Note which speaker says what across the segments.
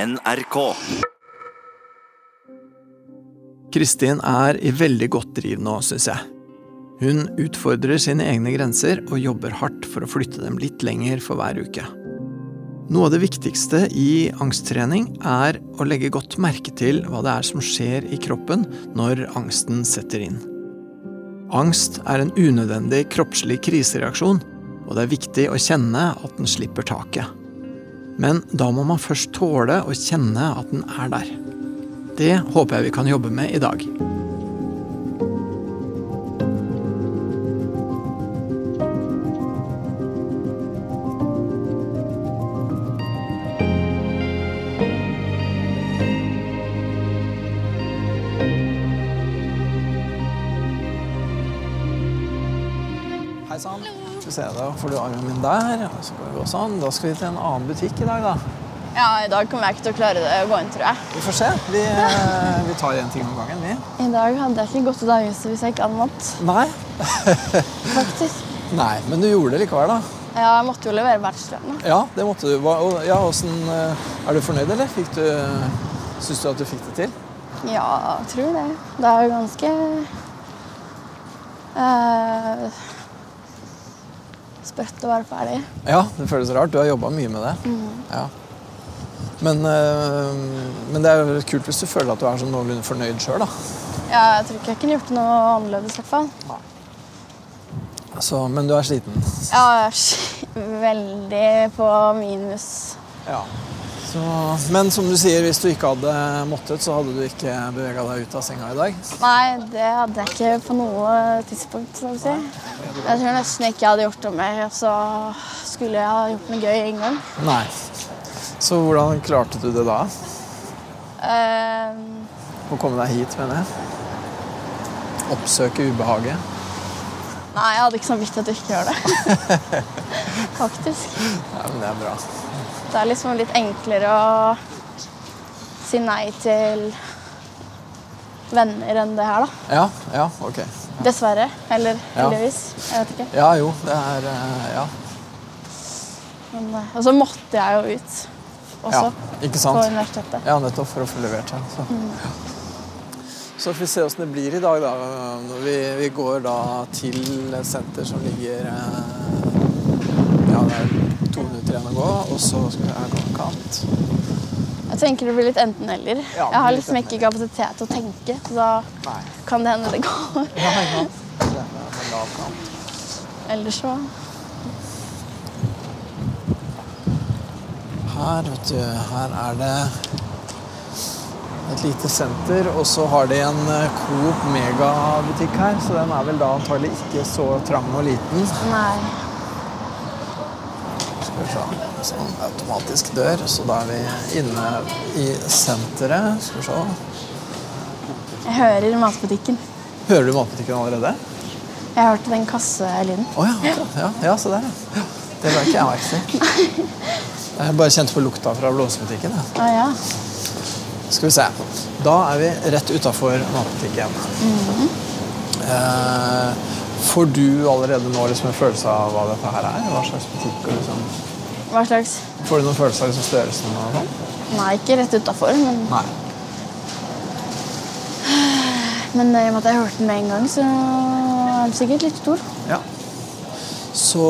Speaker 1: NRK.
Speaker 2: Kristin er i veldig godt driv nå, syns jeg. Hun utfordrer sine egne grenser og jobber hardt for å flytte dem litt lenger for hver uke. Noe av det viktigste i angsttrening er å legge godt merke til hva det er som skjer i kroppen når angsten setter inn. Angst er en unødvendig kroppslig krisereaksjon, og det er viktig å kjenne at den slipper taket. Men da må man først tåle å kjenne at den er der. Det håper jeg vi kan jobbe med i dag. Hei sann. Skal vi se, Da får du armen min der. og så går vi også sånn. Da skal vi til en annen butikk i dag, da.
Speaker 3: Ja, I dag kommer jeg ikke til å klare det å gå inn, tror jeg.
Speaker 2: Vi får se. Vi, eh, vi tar én ting om gangen, vi.
Speaker 3: I dag hadde jeg ikke gått til daghuset hvis jeg ikke hadde mått,
Speaker 2: Nei.
Speaker 3: faktisk.
Speaker 2: Nei, Men du gjorde det likevel, da.
Speaker 3: Ja, jeg måtte jo levere bachelorlønna.
Speaker 2: Ja, det måtte du. Hva- og- Ja, hvordan, eh, Er du fornøyd, eller? Fikk du, syns du at du fikk det til?
Speaker 3: Ja, jeg tror det. Det er jo ganske eh, sprøtt å være ferdig.
Speaker 2: Ja, det føles rart. Du har jobba mye med det. Ja. Men, eh, men det er jo kult hvis du føler at du er sånn noenlunde fornøyd sjøl, da.
Speaker 3: Ja, jeg tror ikke jeg kunne gjort noe annerledes, i hvert fall.
Speaker 2: Så, men du er sliten.
Speaker 3: Ja, jeg er sk- veldig på minus.
Speaker 2: Ja. Så, men som du sier, hvis du ikke hadde måttet, så hadde du ikke bevega deg ut av senga i dag.
Speaker 3: Nei, det hadde jeg ikke på noe tidspunkt. Skal vi si. Jeg tror nesten ikke jeg hadde gjort det mer, så skulle jeg ha gjort noe gøy en gang.
Speaker 2: Nei. Så hvordan klarte du det da?
Speaker 3: Ehm,
Speaker 2: Å komme deg hit, mener jeg. Oppsøke ubehaget.
Speaker 3: nei, jeg hadde ikke samvittighet til å ikke gjøre det. Faktisk.
Speaker 2: Ja, men det er bra.
Speaker 3: Det er liksom litt enklere å si nei til venner enn det her, da.
Speaker 2: Ja, ja, ok.
Speaker 3: Dessverre. Eller
Speaker 2: Ja.
Speaker 3: heldigvis. Jeg vet ikke.
Speaker 2: Ja, jo, det er eh, Ja.
Speaker 3: Men, eh, og så måtte jeg jo ut
Speaker 2: ja.
Speaker 3: også
Speaker 2: Ikke
Speaker 3: på
Speaker 2: sant?
Speaker 3: universitetet.
Speaker 2: Ja, nettopp for å få levert seg. Så. Ja. så får vi se åssen det blir i dag, da. Når vi, vi går da til et senter som ligger eh, Ja, det er to minutter igjen å gå, og så skal vi her gå en kant.
Speaker 3: Jeg tenker det blir litt enten-eller.
Speaker 2: Ja,
Speaker 3: jeg har
Speaker 2: litt
Speaker 3: liksom ikke kapasitet til å tenke, så da
Speaker 2: Nei.
Speaker 3: kan det hende det går.
Speaker 2: Ja, ikke sant? Så det er en lav kant.
Speaker 3: Ellers så
Speaker 2: Her, vet du, her er det et lite senter, og så har de en eh, Coop megabutikk her, så den er vel da antagelig ikke så trang og liten.
Speaker 3: Nei.
Speaker 2: Skal vi se. Sånn automatisk dør, så da er vi inne i senteret. Skal vi se.
Speaker 3: Jeg hører matbutikken.
Speaker 2: Hører du matbutikken allerede?
Speaker 3: Jeg hørte den kasselyden.
Speaker 2: Å ja, akkurat. ja, ja, se der, ja. Det la ikke jeg merke til. Jeg bare kjente på lukta fra blomsterbutikken. jeg.
Speaker 3: Å Ah, ja.
Speaker 2: Skal vi se. Da er vi rett utafor matbutikken. eh, får du allerede nå liksom en følelse av hva dette her er? Hva slags butikk? og Liksom?
Speaker 3: Hva slags?
Speaker 2: Får du noen følelse av liksom størrelsen? og sånn?
Speaker 3: Nei, ikke rett utafor, men,
Speaker 2: Nei.
Speaker 3: men eh, i og med at jeg hørte den med en gang, så er den sikkert litt stor.
Speaker 2: Ja. Så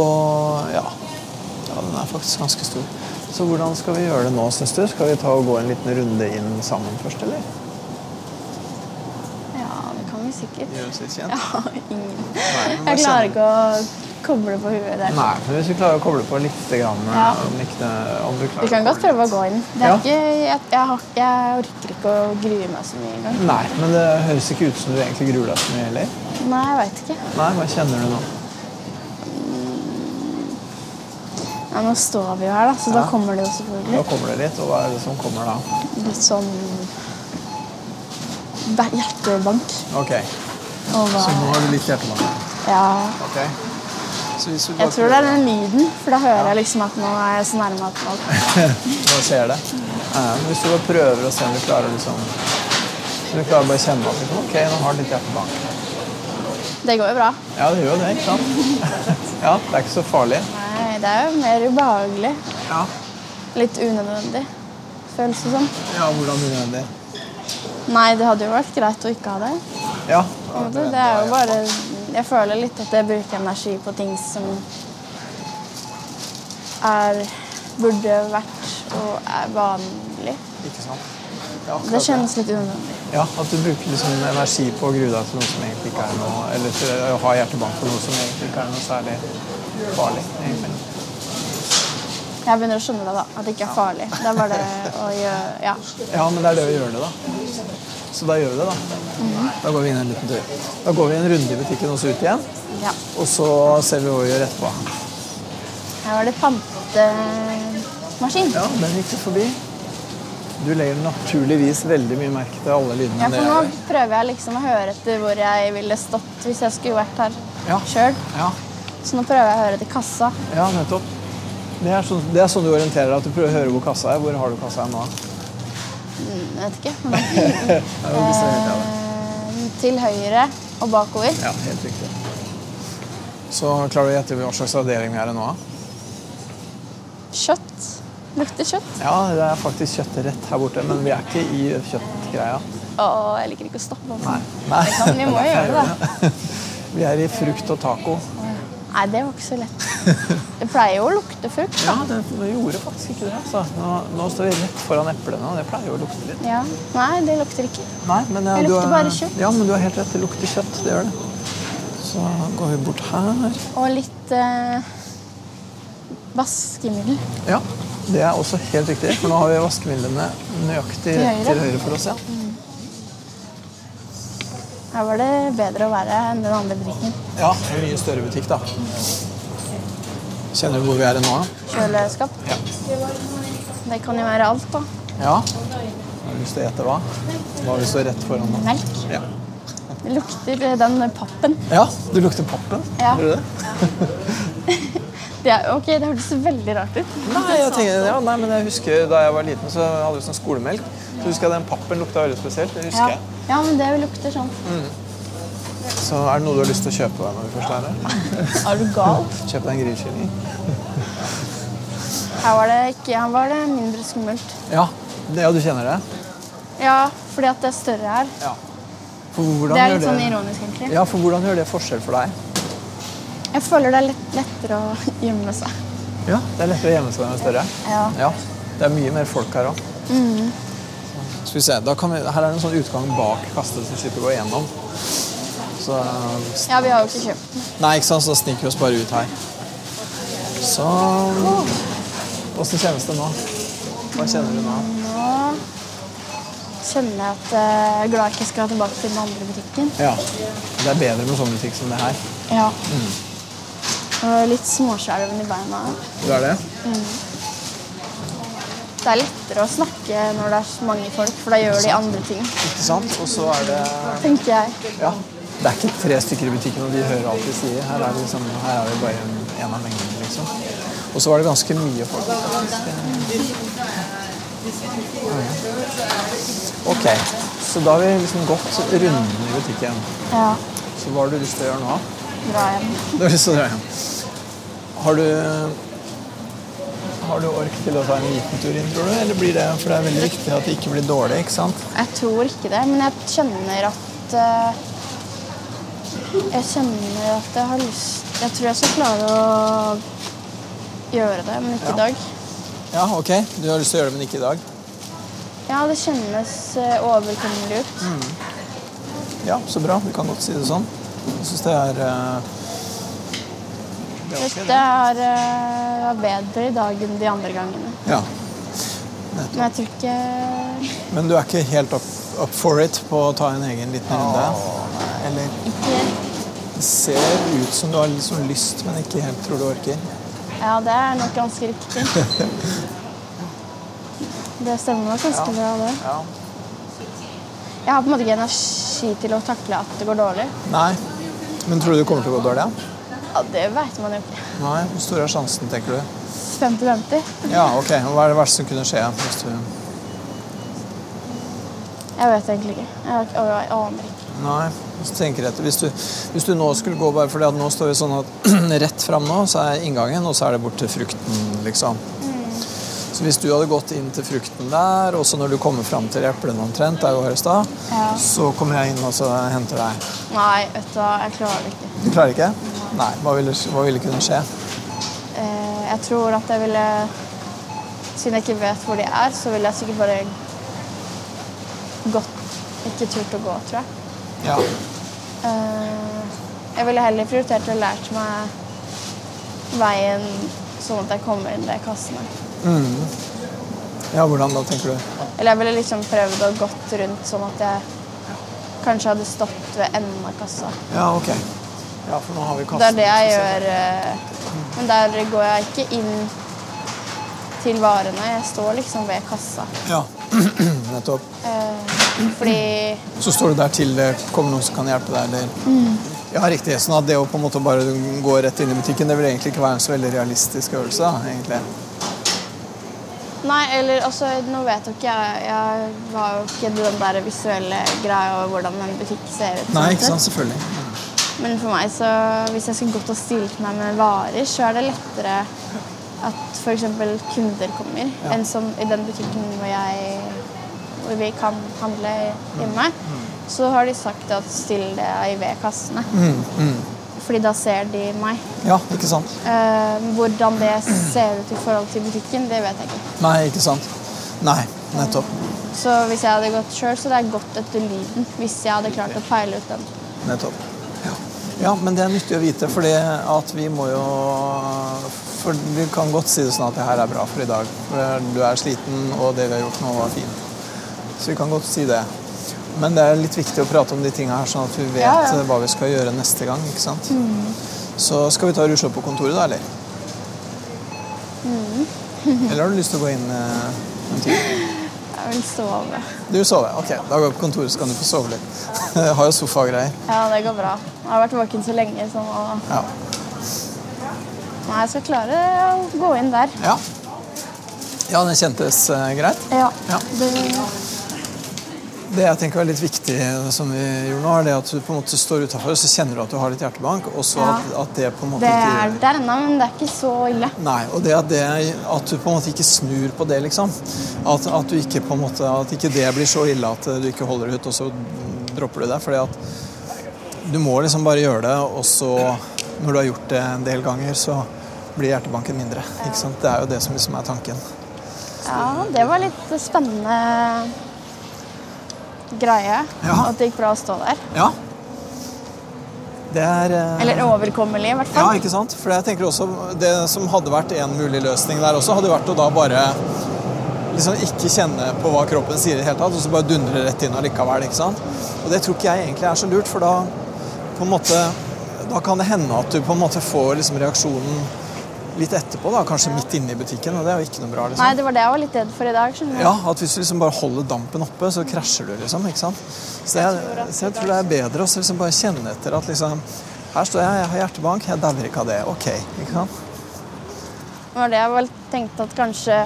Speaker 2: ja. ja. Den er faktisk ganske stor. Så hvordan skal vi gjøre det nå, syns du? Skal vi ta og gå en liten runde inn sammen først, eller?
Speaker 3: Ja, det kan vi sikkert.
Speaker 2: Gjør oss litt kjent?
Speaker 3: Jeg har ingen
Speaker 2: Nei, men
Speaker 3: Jeg
Speaker 2: hva
Speaker 3: klarer
Speaker 2: kjenner-
Speaker 3: ikke å koble på huet der.
Speaker 2: Nei, men hvis vi klarer å koble på litt grann,
Speaker 3: Ja.
Speaker 2: om ikke, om du klarer
Speaker 3: Vi kan
Speaker 2: å
Speaker 3: godt
Speaker 2: koble
Speaker 3: prøve å
Speaker 2: litt.
Speaker 3: gå inn. Det er
Speaker 2: Ja.
Speaker 3: ikke, jeg, jeg, har, jeg orker ikke å grue meg så mye engang.
Speaker 2: Nei, men det høres ikke ut som du egentlig gruer deg så mye heller.
Speaker 3: Nei, jeg veit ikke.
Speaker 2: Nei, hva kjenner du nå?
Speaker 3: Ja, nå står vi jo her, da, så da
Speaker 2: Ja.
Speaker 3: kommer det jo
Speaker 2: Nå
Speaker 3: selvfølgelig
Speaker 2: kommer det litt, og hva er det som kommer da?
Speaker 3: litt sånn ba- hjertebank.
Speaker 2: Ok,
Speaker 3: Og hva
Speaker 2: så nå er du litt hjertemann.
Speaker 3: Ja.
Speaker 2: Ok. Så hvis vi bare
Speaker 3: Jeg tror det er
Speaker 2: prøver-
Speaker 3: den lyden, for da hører jeg liksom at nå er jeg så nærme at nå
Speaker 2: Nå ser det. Eh, men hvis du bare prøver å se om du klarer liksom Om du klarer bare å kjenne at liksom, ok, nå har du litt hjertebank.
Speaker 3: Det går jo bra.
Speaker 2: Ja, det gjør jo det, ikke sant? Ja, det er ikke så farlig.
Speaker 3: Nei, det er jo mer ubehagelig.
Speaker 2: Ja.
Speaker 3: Litt unødvendig. føles det som.
Speaker 2: Ja, hvordan ville den det?
Speaker 3: Nei, det hadde jo vært greit å ikke ha det.
Speaker 2: Ja.
Speaker 3: på en måte. Det er jo bare Jeg føler litt at jeg bruker energi på ting som er Burde vært og er vanlig.
Speaker 2: Ikke sant. Ja, akkurat
Speaker 3: Det kjennes litt unødvendig.
Speaker 2: Ja, at du bruker liksom energi på å grue deg til noe som egentlig ikke er noe Eller til å ha hjertebank for noe som egentlig ikke er noe særlig farlig. egentlig.
Speaker 3: Jeg begynner å skjønne det, da. At det ikke er farlig. Det er bare det å gjøre Ja.
Speaker 2: Ja, men det er det å gjøre det, da. Så da gjør vi det, da.
Speaker 3: Mhm.
Speaker 2: Da går vi inn en liten tur. Da går vi en runde i butikken og så ut igjen.
Speaker 3: ja.
Speaker 2: Og så ser vi hva vi gjør etterpå.
Speaker 3: Her var det pantemaskin.
Speaker 2: Ja, den gikk du forbi. Du legger naturligvis veldig mye merke til alle lydene
Speaker 3: Ja, for
Speaker 2: dere
Speaker 3: nå
Speaker 2: gjør.
Speaker 3: prøver jeg liksom å høre etter hvor jeg ville stått hvis jeg skulle vært her
Speaker 2: Ja.
Speaker 3: sjøl.
Speaker 2: Ja,
Speaker 3: Så nå prøver jeg å høre til kassa.
Speaker 2: ja, nettopp. Det er, sånn, det er sånn du orienterer deg, at du prøver å høre hvor kassa er. Hvor har du kassa nå?
Speaker 3: Mm, Jeg vet ikke. men-
Speaker 2: Ja, du ser helt av det.
Speaker 3: Eh, til høyre og bakover.
Speaker 2: Ja, helt riktig. Så klarer du å gjette hva slags avdeling vi er i nå? da?
Speaker 3: Kjøtt. Lukter kjøtt.
Speaker 2: Ja, det er faktisk kjøttrett her borte, men vi er ikke i kjøttgreia.
Speaker 3: Å, jeg liker ikke å stoppe opp.
Speaker 2: Nei. Nei.
Speaker 3: Ja, men vi må jo gjøre det, da.
Speaker 2: Vi er i frukt og taco.
Speaker 3: Nei, det var ikke så lett. Det pleier jo å lukte frukt.
Speaker 2: Ja, det, det gjorde faktisk ikke det. Altså. Nå, nå står vi rett foran eplene, og det pleier jo å lukte litt.
Speaker 3: Ja. Nei, det lukter ikke.
Speaker 2: Nei, men eh,
Speaker 3: Det
Speaker 2: du
Speaker 3: lukter
Speaker 2: har-
Speaker 3: bare kjøtt.
Speaker 2: Ja, men du har helt rett. Det lukter kjøtt. Det gjør det. Så går vi bort her.
Speaker 3: Og litt eh, vaskemiddel.
Speaker 2: Ja, det er også helt riktig. For nå har vi vaskemidlene nøyaktig
Speaker 3: Til høyre.
Speaker 2: til høyre for oss. Ja.
Speaker 3: Her var det bedre å være enn den andre butikken.
Speaker 2: ja, en mye større butikk, da. Kjenner du hvor vi er nå?
Speaker 3: Kjøleskap.
Speaker 2: Ja.
Speaker 3: Det kan jo være alt, da.
Speaker 2: Ja. Har du lyst til å gjette hva? Hva har du så rett foran nå?
Speaker 3: Melk.
Speaker 2: Ja.
Speaker 3: Det lukter eh, den pappen.
Speaker 2: ja, du lukter pappen.
Speaker 3: Ja.
Speaker 2: Gjør du det?
Speaker 3: Det er, ok, det hørtes veldig rart ut.
Speaker 2: Nei, jeg tenker, ja, nei, men jeg husker da jeg var liten, så hadde vi sånn skolemelk. Så husker jeg den pappen lukta veldig spesielt. Det husker
Speaker 3: Ja.
Speaker 2: jeg.
Speaker 3: ja, men det lukter sånn.
Speaker 2: Så er det noe du har lyst til å kjøpe deg når du først er her?
Speaker 3: Er du gal?
Speaker 2: Kjøp deg en grillkylling.
Speaker 3: Her var det ikke, her var det mindre skummelt.
Speaker 2: Ja. det- ja, du kjenner det?
Speaker 3: Ja, fordi at det er større her.
Speaker 2: Ja. For hvordan
Speaker 3: Det er
Speaker 2: gjør
Speaker 3: litt sånn ironisk, egentlig.
Speaker 2: Ja, for hvordan gjør det forskjell for deg?
Speaker 3: Jeg føler det er litt lettere å gjemme seg.
Speaker 2: Ja. Det er lettere å gjemme seg når det er større?
Speaker 3: Ja.
Speaker 2: Ja. Det er mye mer folk her òg. Skal vi se, da kan vi, Her er det en sånn utgang bak kastet som slipper å gå gjennom. Så
Speaker 3: Ja, vi har jo ikke kjøpt den.
Speaker 2: Nei, ikke sant, så da sniker vi oss bare ut her. Sånn. Åssen kjennes det nå? Hva kjenner du nå?
Speaker 3: Nå kjenner jeg at eh, jeg er glad jeg ikke skal tilbake til den andre butikken.
Speaker 2: Ja. Det er bedre med sånn butikk som det her.
Speaker 3: Ja.
Speaker 2: Mm.
Speaker 3: Og litt småskjelven i beina.
Speaker 2: Det er det?
Speaker 3: Det er lettere å snakke når det er så mange folk, for da gjør de andre ting,
Speaker 2: Ikke sant? Og så er det
Speaker 3: tenker jeg.
Speaker 2: Ja. Det er ikke tre stykker i butikken, og de hører alt de sier. Her er det liksom, her er det bare en, en av mengden, liksom. Og så var det ganske mye folk. faktisk. Ja, ja. Ok, så da har vi liksom gått runden i butikken.
Speaker 3: Ja,
Speaker 2: Så hva har du lyst til å gjøre nå?
Speaker 3: bra hjem.
Speaker 2: Du har lyst til å dra hjem. Har du har du ork til å ta en liten tur inn, tror du? Eller blir det, for det er veldig viktig at det ikke blir dårlig, ikke sant?
Speaker 3: Jeg tror ikke det, men jeg kjenner at eh, Jeg kjenner at jeg har lyst Jeg tror jeg skal klare å gjøre det, men ikke i dag.
Speaker 2: Ja, ok. Du har lyst til å gjøre det, men ikke i dag?
Speaker 3: Ja, det kjennes eh, overkommelig ut.
Speaker 2: Ja, så bra. Vi kan godt si det sånn. Jeg syns det er eh, det er ok,
Speaker 3: Dette
Speaker 2: det.
Speaker 3: er eh, bedre i dag enn de andre gangene.
Speaker 2: Ja.
Speaker 3: Men jeg tror ikke
Speaker 2: Men du er ikke helt up, up for it på å ta en egen liten runde? Eller
Speaker 3: ikke,
Speaker 2: det ser ut som du har liksom lyst, men ikke helt tror du orker?
Speaker 3: Ja, det er nok ganske riktig. Det stemmer nok ganske bra, det.
Speaker 2: Ja.
Speaker 3: Jeg har på en måte ikke energi til å takle at det går dårlig.
Speaker 2: Nei. Men tror du det kommer til å gå dårlig? Ja?
Speaker 3: Ja, Det veit man jo ikke.
Speaker 2: Nei. Hvor stor er sjansen, tenker du?
Speaker 3: 50-50.
Speaker 2: Ja, ok. Hva er det verste som kunne skje? Hvis du...
Speaker 3: Jeg vet egentlig ikke. Jeg, har ikke- jeg aner ikke.
Speaker 2: Nei. Så tenker jeg etter. Hvis, du, hvis du nå skulle gå bare fordi at nå står vi
Speaker 3: Mm.
Speaker 2: sånn at rett fram nå, så er inngangen, og så er det bort til frukten, liksom. Så hvis du hadde gått inn til frukten der, og så når du kommer fram til eplene omtrent, der du var i stad,
Speaker 3: Ja.
Speaker 2: så kommer jeg inn og så henter deg.
Speaker 3: Nei, vet du hva, jeg klarer det ikke.
Speaker 2: Du klarer ikke? Nei. Hva ville, hva ville kunne skje?
Speaker 3: Eh, jeg tror at jeg ville Siden jeg ikke vet hvor de er, så ville jeg sikkert bare gått. Ikke turt å gå, tror jeg.
Speaker 2: Ja.
Speaker 3: Eh, jeg ville heller prioritert å lært meg veien sånn at jeg kommer inn i kassene.
Speaker 2: Mm. ja, hvordan da, tenker du?
Speaker 3: Eller jeg ville liksom prøvd å gått rundt sånn at jeg kanskje hadde stått ved enden av kassa.
Speaker 2: Ja, ok. Ja, for nå har vi kassen.
Speaker 3: Det er det jeg gjør. eh, Men der går jeg ikke inn til varene. Jeg står liksom ved kassa.
Speaker 2: Ja, nettopp.
Speaker 3: Eh, Fordi
Speaker 2: Så står du der til det kommer noen som kan hjelpe deg, eller Ja, riktig. Sånn at det å på en måte bare gå rett inn i butikken, det vil egentlig ikke være en så veldig realistisk øvelse, da, egentlig.
Speaker 3: Nei, eller altså, nå vet jo ikke jeg Jeg har jo ikke den der visuelle greia over hvordan en butikk ser ut.
Speaker 2: Nei,
Speaker 3: sånn
Speaker 2: ikke
Speaker 3: sett.
Speaker 2: sant? Selvfølgelig.
Speaker 3: Men for meg, så hvis jeg skulle gått og stilt meg med varer, så er det lettere at f.eks. kunder kommer, enn som i den butikken hvor, jeg, hvor vi kan handle hjemme. Så har de sagt at still deg ved kassene,
Speaker 2: Mm, mm.
Speaker 3: fordi da ser de meg.
Speaker 2: Ja, ikke sant.
Speaker 3: Eh, hvordan det ser ut i forhold til butikken, det vet jeg ikke.
Speaker 2: Nei, ikke sant. Nei, nettopp.
Speaker 3: Så hvis jeg hadde gått sjøl, så hadde jeg gått etter lyden. Hvis jeg hadde klart å peile ut den.
Speaker 2: Nettopp. Ja. ja, men det er nyttig å vite, fordi at vi må jo For vi kan godt si det sånn at det her er bra for i dag. For du er sliten, og det vi har gjort nå, var fint. Så vi kan godt si det. Men det er litt viktig å prate om de tinga her, sånn at vi vet
Speaker 3: Ja, ja. Mm.
Speaker 2: eh, hva vi skal gjøre neste gang. ikke sant? Så skal vi ta og rusle opp på kontoret, da, eller?
Speaker 3: Mm.
Speaker 2: eller har du lyst til å gå inn eh, en tur?
Speaker 3: Jeg vil sove.
Speaker 2: Du sover? Ok, da går vi på kontoret, så kan du få sove litt. Jeg har jo sofagreier.
Speaker 3: Ja, det går bra. Jeg har vært våken så lenge, så nå
Speaker 2: Ja.
Speaker 3: Nei, jeg skal klare å gå inn der.
Speaker 2: Ja. Ja, den kjentes eh, greit.
Speaker 3: Ja.
Speaker 2: Ja.
Speaker 3: Det,
Speaker 2: Det jeg tenker er litt viktig, eh, som vi gjorde nå, er det at du på en måte står utafor, og så kjenner du at du har litt hjertebank, og så
Speaker 3: Ja.
Speaker 2: at, at det på en måte
Speaker 3: det
Speaker 2: ikke
Speaker 3: er der ennå, men det er ikke så ille.
Speaker 2: Nei, og det at, det at du på en måte ikke snur på det, liksom. At, at du ikke på en måte At ikke det blir så ille at eh, du ikke holder ut, og så dropper du det. Fordi at du må liksom bare gjøre det, og så, når du har gjort det en del ganger, så blir hjertebanken mindre. Ikke sant? Det er jo det som liksom er tanken.
Speaker 3: Ja, det var litt spennende greie.
Speaker 2: Ja.
Speaker 3: At det gikk bra å stå der.
Speaker 2: Ja. Det er eh,
Speaker 3: Eller overkommelig, i hvert
Speaker 2: Ja,
Speaker 3: fall.
Speaker 2: ikke sant? For jeg tenker også Det som hadde vært en mulig løsning der også, hadde vært å da bare liksom ikke kjenne på hva kroppen sier i det hele tatt, og så bare dundre rett inn allikevel. ikke sant? Og det tror ikke jeg egentlig er så lurt, for da på en måte Da kan det hende at du på en måte får liksom reaksjonen litt etterpå, da, kanskje midt inne i butikken, og det er jo ikke noe bra. liksom.
Speaker 3: Nei, det var det jeg var litt redd for i dag. skjønner du.
Speaker 2: Ja, at hvis du liksom bare holder dampen oppe, så krasjer du, liksom. ikke sant? Så jeg, så jeg tror det er bedre å så liksom bare kjenne etter at liksom Her står jeg, jeg har hjertebank, jeg dauer ikke av det. Ok. ikke sant?
Speaker 3: Det var det jeg vel tenkte at kanskje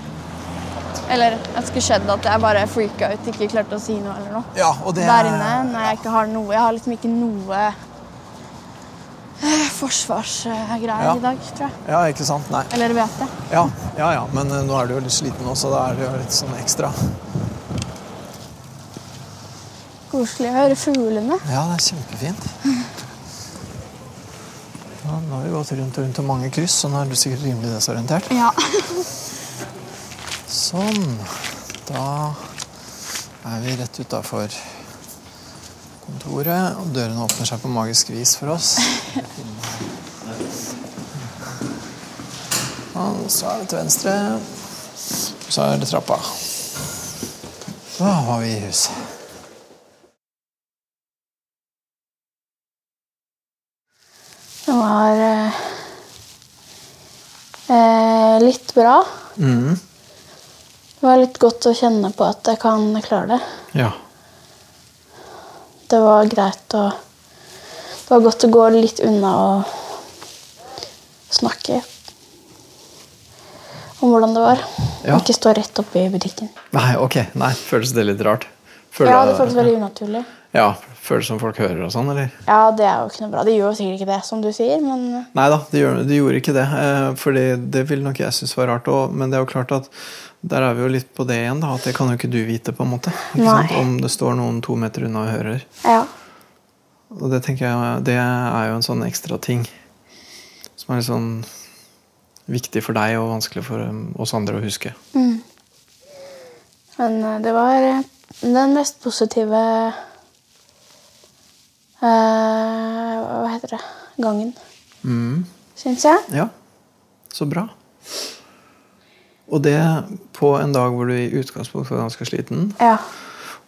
Speaker 3: Eller at det skulle skjedd at jeg bare freaka ut, ikke klarte å si noe eller noe.
Speaker 2: Ja, og det
Speaker 3: Der inne, når jeg ikke har noe Jeg har liksom ikke noe eh, forsvarsgreier
Speaker 2: Ja.
Speaker 3: i dag, tror jeg.
Speaker 2: Ja, ikke sant? Nei.
Speaker 3: Eller vet jeg.
Speaker 2: Ja, ja, ja. Men eh, nå er du jo litt sliten også, da er det jo litt sånn ekstra.
Speaker 3: Koselig å høre fuglene.
Speaker 2: Ja, det er kjempefint. Ja, nå har vi gått rundt og rundt og mange kryss, så nå er du sikkert rimelig desorientert.
Speaker 3: Ja.
Speaker 2: Sånn. Da er vi rett utafor kontoret, og dørene åpner seg på magisk vis for oss. Og Sånn, så er det til venstre. Så er det trappa. Da var vi i hus.
Speaker 3: Det var eh, eh, litt bra.
Speaker 2: Mm.
Speaker 3: Det var litt godt å kjenne på at jeg kan klare det.
Speaker 2: Ja.
Speaker 3: Det var greit å Det var godt å gå litt unna og snakke om hvordan det var.
Speaker 2: Ja.
Speaker 3: Ikke stå rett oppe i butikken.
Speaker 2: Nei, ok. Nei, føles det litt rart? Føler
Speaker 3: ja,
Speaker 2: du
Speaker 3: det føles veldig unaturlig.
Speaker 2: Ja, føles som folk hører og sånn, eller?
Speaker 3: Ja, det er jo ikke noe bra. Det gjør jo sikkert ikke det, som du sier, men
Speaker 2: Nei da, det gjør- det gjorde ikke det. eh, Fordi det ville nok jeg synes var rart òg. Men det er jo klart at der er vi jo litt på det igjen, da. At det kan jo ikke du vite, på en måte. Ikke
Speaker 3: Nei.
Speaker 2: sant? Om det står noen to meter unna og hører.
Speaker 3: eh, ja.
Speaker 2: Og det tenker jeg Det er jo en sånn ekstra ting som er litt sånn viktig for deg og vanskelig for um, oss andre å huske.
Speaker 3: Men eh, det var eh, den mest positive eh, Hva heter det? Gangen,
Speaker 2: Mm.
Speaker 3: syns jeg.
Speaker 2: Ja, så bra. Og det på en dag hvor du i utgangspunktet var ganske sliten,
Speaker 3: Ja.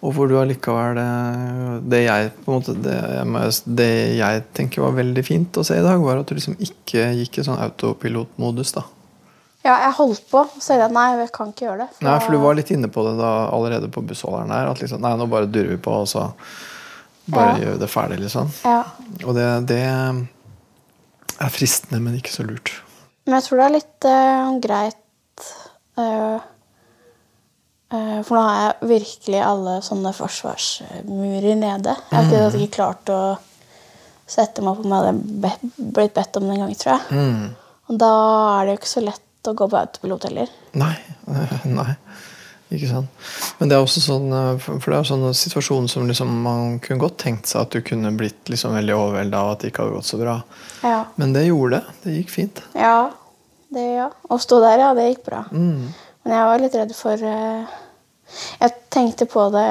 Speaker 2: og hvor du allikevel eh, Det jeg på en måte det, jeg må- det jeg tenker var veldig fint å se i dag, var at du liksom ikke gikk i sånn autopilotmodus. da.
Speaker 3: ja, jeg holdt på, og så sa jeg at nei, jeg kan ikke gjøre det.
Speaker 2: Nei, for du var litt inne på det da allerede på bussholderen her. At liksom, nei, nå bare durer vi på, og så bare
Speaker 3: Ja.
Speaker 2: gjør vi det ferdig, liksom.
Speaker 3: ja.
Speaker 2: Og det, det er fristende, men ikke så lurt.
Speaker 3: Men jeg tror det er litt eh, greit eh, eh, For nå har jeg virkelig alle sånne forsvarsmurer nede. Jeg
Speaker 2: Mm.
Speaker 3: har ikke, ikke klart å sette meg opp om jeg hadde be- blitt bedt om det en gang, tror jeg. Og da er det jo ikke så lett å gå på autopilot heller.
Speaker 2: Nei. Nei. Ikke sant. Men det er også sånn eh, For for det er jo sånn situasjon som liksom man kunne godt tenkt seg at du kunne blitt liksom veldig overvelda av at det ikke hadde gått så bra.
Speaker 3: Ja.
Speaker 2: Men det gjorde det. Det gikk fint.
Speaker 3: ja det ja. Å stå der, ja, det gikk bra.
Speaker 2: Mm.
Speaker 3: Men jeg var litt redd for eh, Jeg tenkte på det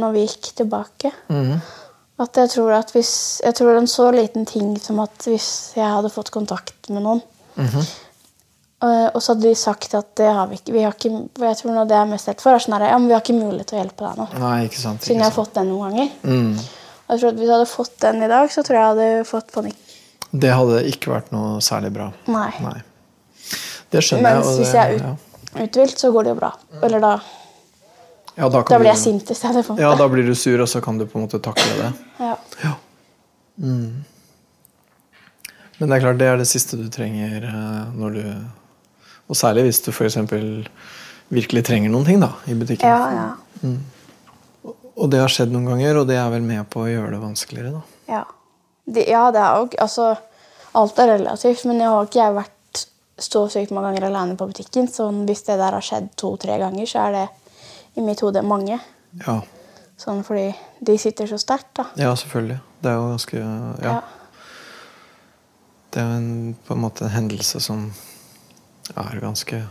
Speaker 3: når vi gikk tilbake.
Speaker 2: Mhm.
Speaker 3: At jeg tror at hvis Jeg tror en så liten ting som at hvis jeg hadde fått kontakt med noen
Speaker 2: Mm-hmm.
Speaker 3: eh, Og så hadde de sagt at det har vi ikke, vi har ikke for Jeg tror nå det jeg er mest redd for, er sånn her Ja, men vi har ikke mulighet til å hjelpe deg nå.
Speaker 2: Nei, ikke sant. Ikke
Speaker 3: Siden jeg har
Speaker 2: sant.
Speaker 3: fått den noen ganger.
Speaker 2: Mm.
Speaker 3: Og Jeg tror at Hvis jeg hadde fått den i dag, så tror jeg jeg hadde fått panikk.
Speaker 2: Det hadde ikke vært noe særlig bra.
Speaker 3: Nei.
Speaker 2: Nei. Det skjønner jeg.
Speaker 3: Mens
Speaker 2: og
Speaker 3: hvis
Speaker 2: det-
Speaker 3: jeg er
Speaker 2: ja.
Speaker 3: ut, uthvilt, så går det jo bra. Eller da,
Speaker 2: Ja, da, kan
Speaker 3: da blir jeg
Speaker 2: du-
Speaker 3: sint i stedet. på en
Speaker 2: Ja,
Speaker 3: måte.
Speaker 2: da blir du sur, og så kan du på en måte takle det.
Speaker 3: Ja.
Speaker 2: Ja. Mm. Men det er klart, det er det siste du trenger eh, når du Og særlig hvis du f.eks. virkelig trenger noen ting da, i butikken.
Speaker 3: Ja, ja,
Speaker 2: Og det har skjedd noen ganger, og det er vel med på å gjøre det vanskeligere. da.
Speaker 3: ja. Det, ja, det er jo Altså, alt er relativt, men jeg har ikke jeg vært så sykt mange ganger alene på butikken, så hvis det der har skjedd to-tre ganger, så er det i mitt hode mange.
Speaker 2: Ja,
Speaker 3: Sånn fordi de sitter så sterkt, da.
Speaker 2: ja selvfølgelig. Det er jo ganske Ja. Det er jo en, på en måte en hendelse som er ganske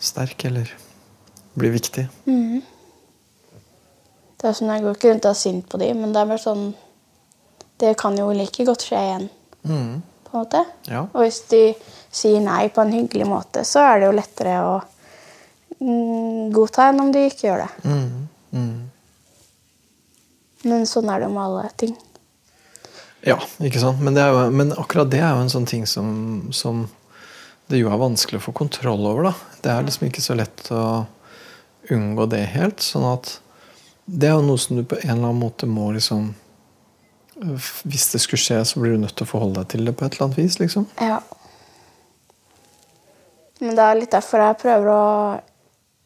Speaker 2: sterk, eller blir viktig.
Speaker 3: Det er sånn, Jeg går ikke rundt og er sint på de, men det er bare sånn Det kan jo like godt skje igjen,
Speaker 2: Mm.
Speaker 3: på en måte.
Speaker 2: Ja.
Speaker 3: Og hvis de sier nei på en hyggelig måte, så er det jo lettere å mm, godta enn om de ikke gjør det.
Speaker 2: Mm. Mm.
Speaker 3: Men sånn er det jo med alle ting.
Speaker 2: Ja, ikke sant? Men, det er jo, men akkurat det er jo en sånn ting som, som det jo er vanskelig å få kontroll over. Da. Det er liksom ikke så lett å unngå det helt. sånn at det er jo noe som du på en eller annen måte må liksom f- Hvis det skulle skje, så blir du nødt til å forholde deg til det på et eller annet vis. liksom.
Speaker 3: Ja. Men det er litt derfor jeg prøver å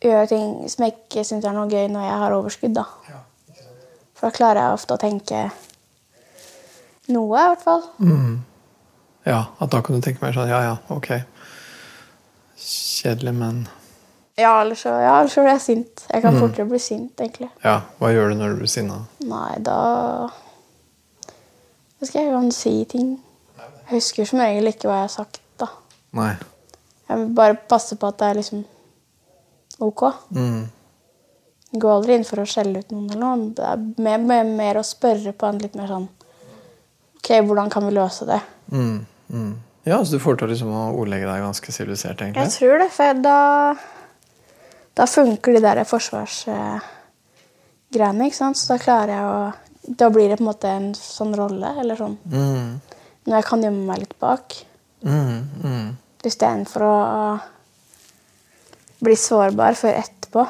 Speaker 3: gjøre ting som jeg ikke syns er noe gøy, når jeg har overskudd. da. For da klarer jeg ofte å tenke noe, i hvert fall.
Speaker 2: Mm. Ja, at da kan du tenke mer sånn Ja, ja, ok. Kjedelig, men
Speaker 3: Ja, ellers så, ja, ellers så blir jeg sint. Jeg kan fortere bli sint, egentlig.
Speaker 2: Ja, hva gjør du når du blir sinna?
Speaker 3: Nei, da Vet ikke, jeg kan si ting. Jeg husker som regel ikke hva jeg har sagt, da.
Speaker 2: Nei.
Speaker 3: Jeg vil bare passe på at det er liksom ok.
Speaker 2: Mm.
Speaker 3: Jeg går aldri inn for å skjelle ut noen eller noe. Det er mer, mer, mer å spørre på en litt mer sånn Ok, hvordan kan vi løse det?
Speaker 2: Mm, mm. Ja, så du får til liksom å ordlegge deg ganske sivilisert,
Speaker 3: Jeg
Speaker 2: egentlig?
Speaker 3: tror det, for da Da funker de der forsvarsgreiene, ikke sant? Så da klarer jeg å Da blir det på en måte en sånn rolle, eller sånn.
Speaker 2: Mm,
Speaker 3: Når jeg kan gjemme meg litt bak.
Speaker 2: mm, mm.
Speaker 3: Istedenfor å bli sårbar før etterpå,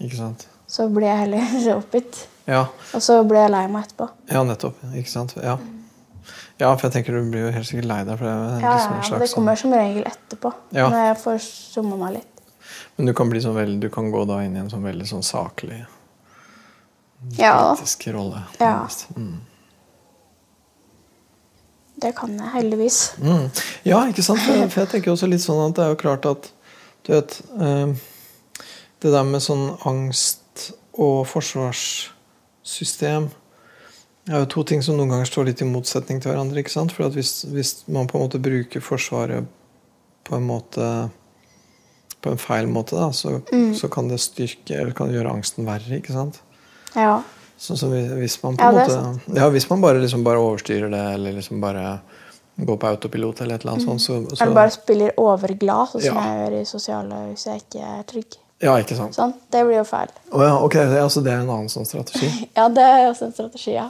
Speaker 2: Ikke sant?
Speaker 3: så blir jeg heller oppgitt.
Speaker 2: Ja,
Speaker 3: Og så blir jeg lei meg etterpå.
Speaker 2: ja nettopp. Ikke sant? Ja. ja, for jeg tenker du blir jo helt sikkert lei deg. For det er liksom
Speaker 3: Ja, ja,
Speaker 2: en
Speaker 3: men
Speaker 2: slags
Speaker 3: det kommer som regel etterpå.
Speaker 2: Ja.
Speaker 3: Når jeg får summa meg litt.
Speaker 2: sånn, men du kan, bli sånn veldig, du kan gå da inn i en sånn veldig sånn saklig
Speaker 3: Ja.
Speaker 2: Politisk rolle.
Speaker 3: Ja.
Speaker 2: nærmest. Mm.
Speaker 3: Det kan jeg heldigvis.
Speaker 2: Mm. Ja, ikke sant? For jeg- For jeg tenker også litt sånn at det er jo klart at du vet, eh, Det der med sånn angst og forsvarssystem er jo to ting som noen ganger står litt i motsetning til hverandre. ikke sant? For at hvis, hvis man på en måte bruker Forsvaret på en måte på en feil måte, da, så, så kan det styrke eller kan det gjøre angsten verre. ikke sant?
Speaker 3: Ja.
Speaker 2: Sånn som hvis- hvis man på
Speaker 3: Ja,
Speaker 2: en
Speaker 3: det er
Speaker 2: måte Ja, hvis man bare, liksom bare overstyrer det, eller liksom bare går på autopilot eller et eller annet sånt, så, så
Speaker 3: Eller Mm. bare spiller overglad, sånn som
Speaker 2: Ja.
Speaker 3: jeg gjør i sosiale hvis jeg ikke er trygg.
Speaker 2: Ja, ikke sant.
Speaker 3: Sånn, Det blir jo feil.
Speaker 2: Å ja, ok, det, altså, det er en annen sånn strategi.
Speaker 3: Ja, det er også en strategi, ja.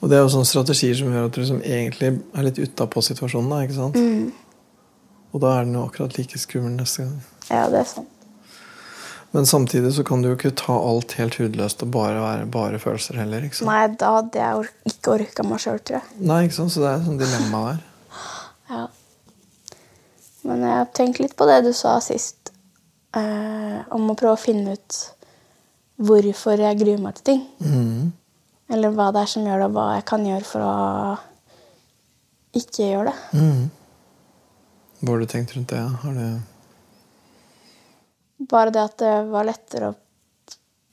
Speaker 2: Og det er jo sånne strategier som gjør at du liksom egentlig er litt utapå situasjonen, da, ikke sant?
Speaker 3: Mm.
Speaker 2: Og da er den jo akkurat like skummel neste gang.
Speaker 3: Ja, det er sant.
Speaker 2: Men samtidig så kan du jo ikke ta alt helt hudløst og bare være bare følelser heller, ikke sant?
Speaker 3: Nei, da hadde jeg or ikke orka meg sjøl, tror jeg.
Speaker 2: Nei, ikke sant? Så det er et sånt dilemma der.
Speaker 3: Ja. Men jeg har tenkt litt på det du sa sist, eh, om å prøve å finne ut hvorfor jeg gruer meg til ting.
Speaker 2: Mm.
Speaker 3: Eller hva det er som gjør det, og hva jeg kan gjøre for å ikke gjøre det.
Speaker 2: Mm. Hva har du tenkt rundt det? Har du
Speaker 3: Bare det at det var lettere å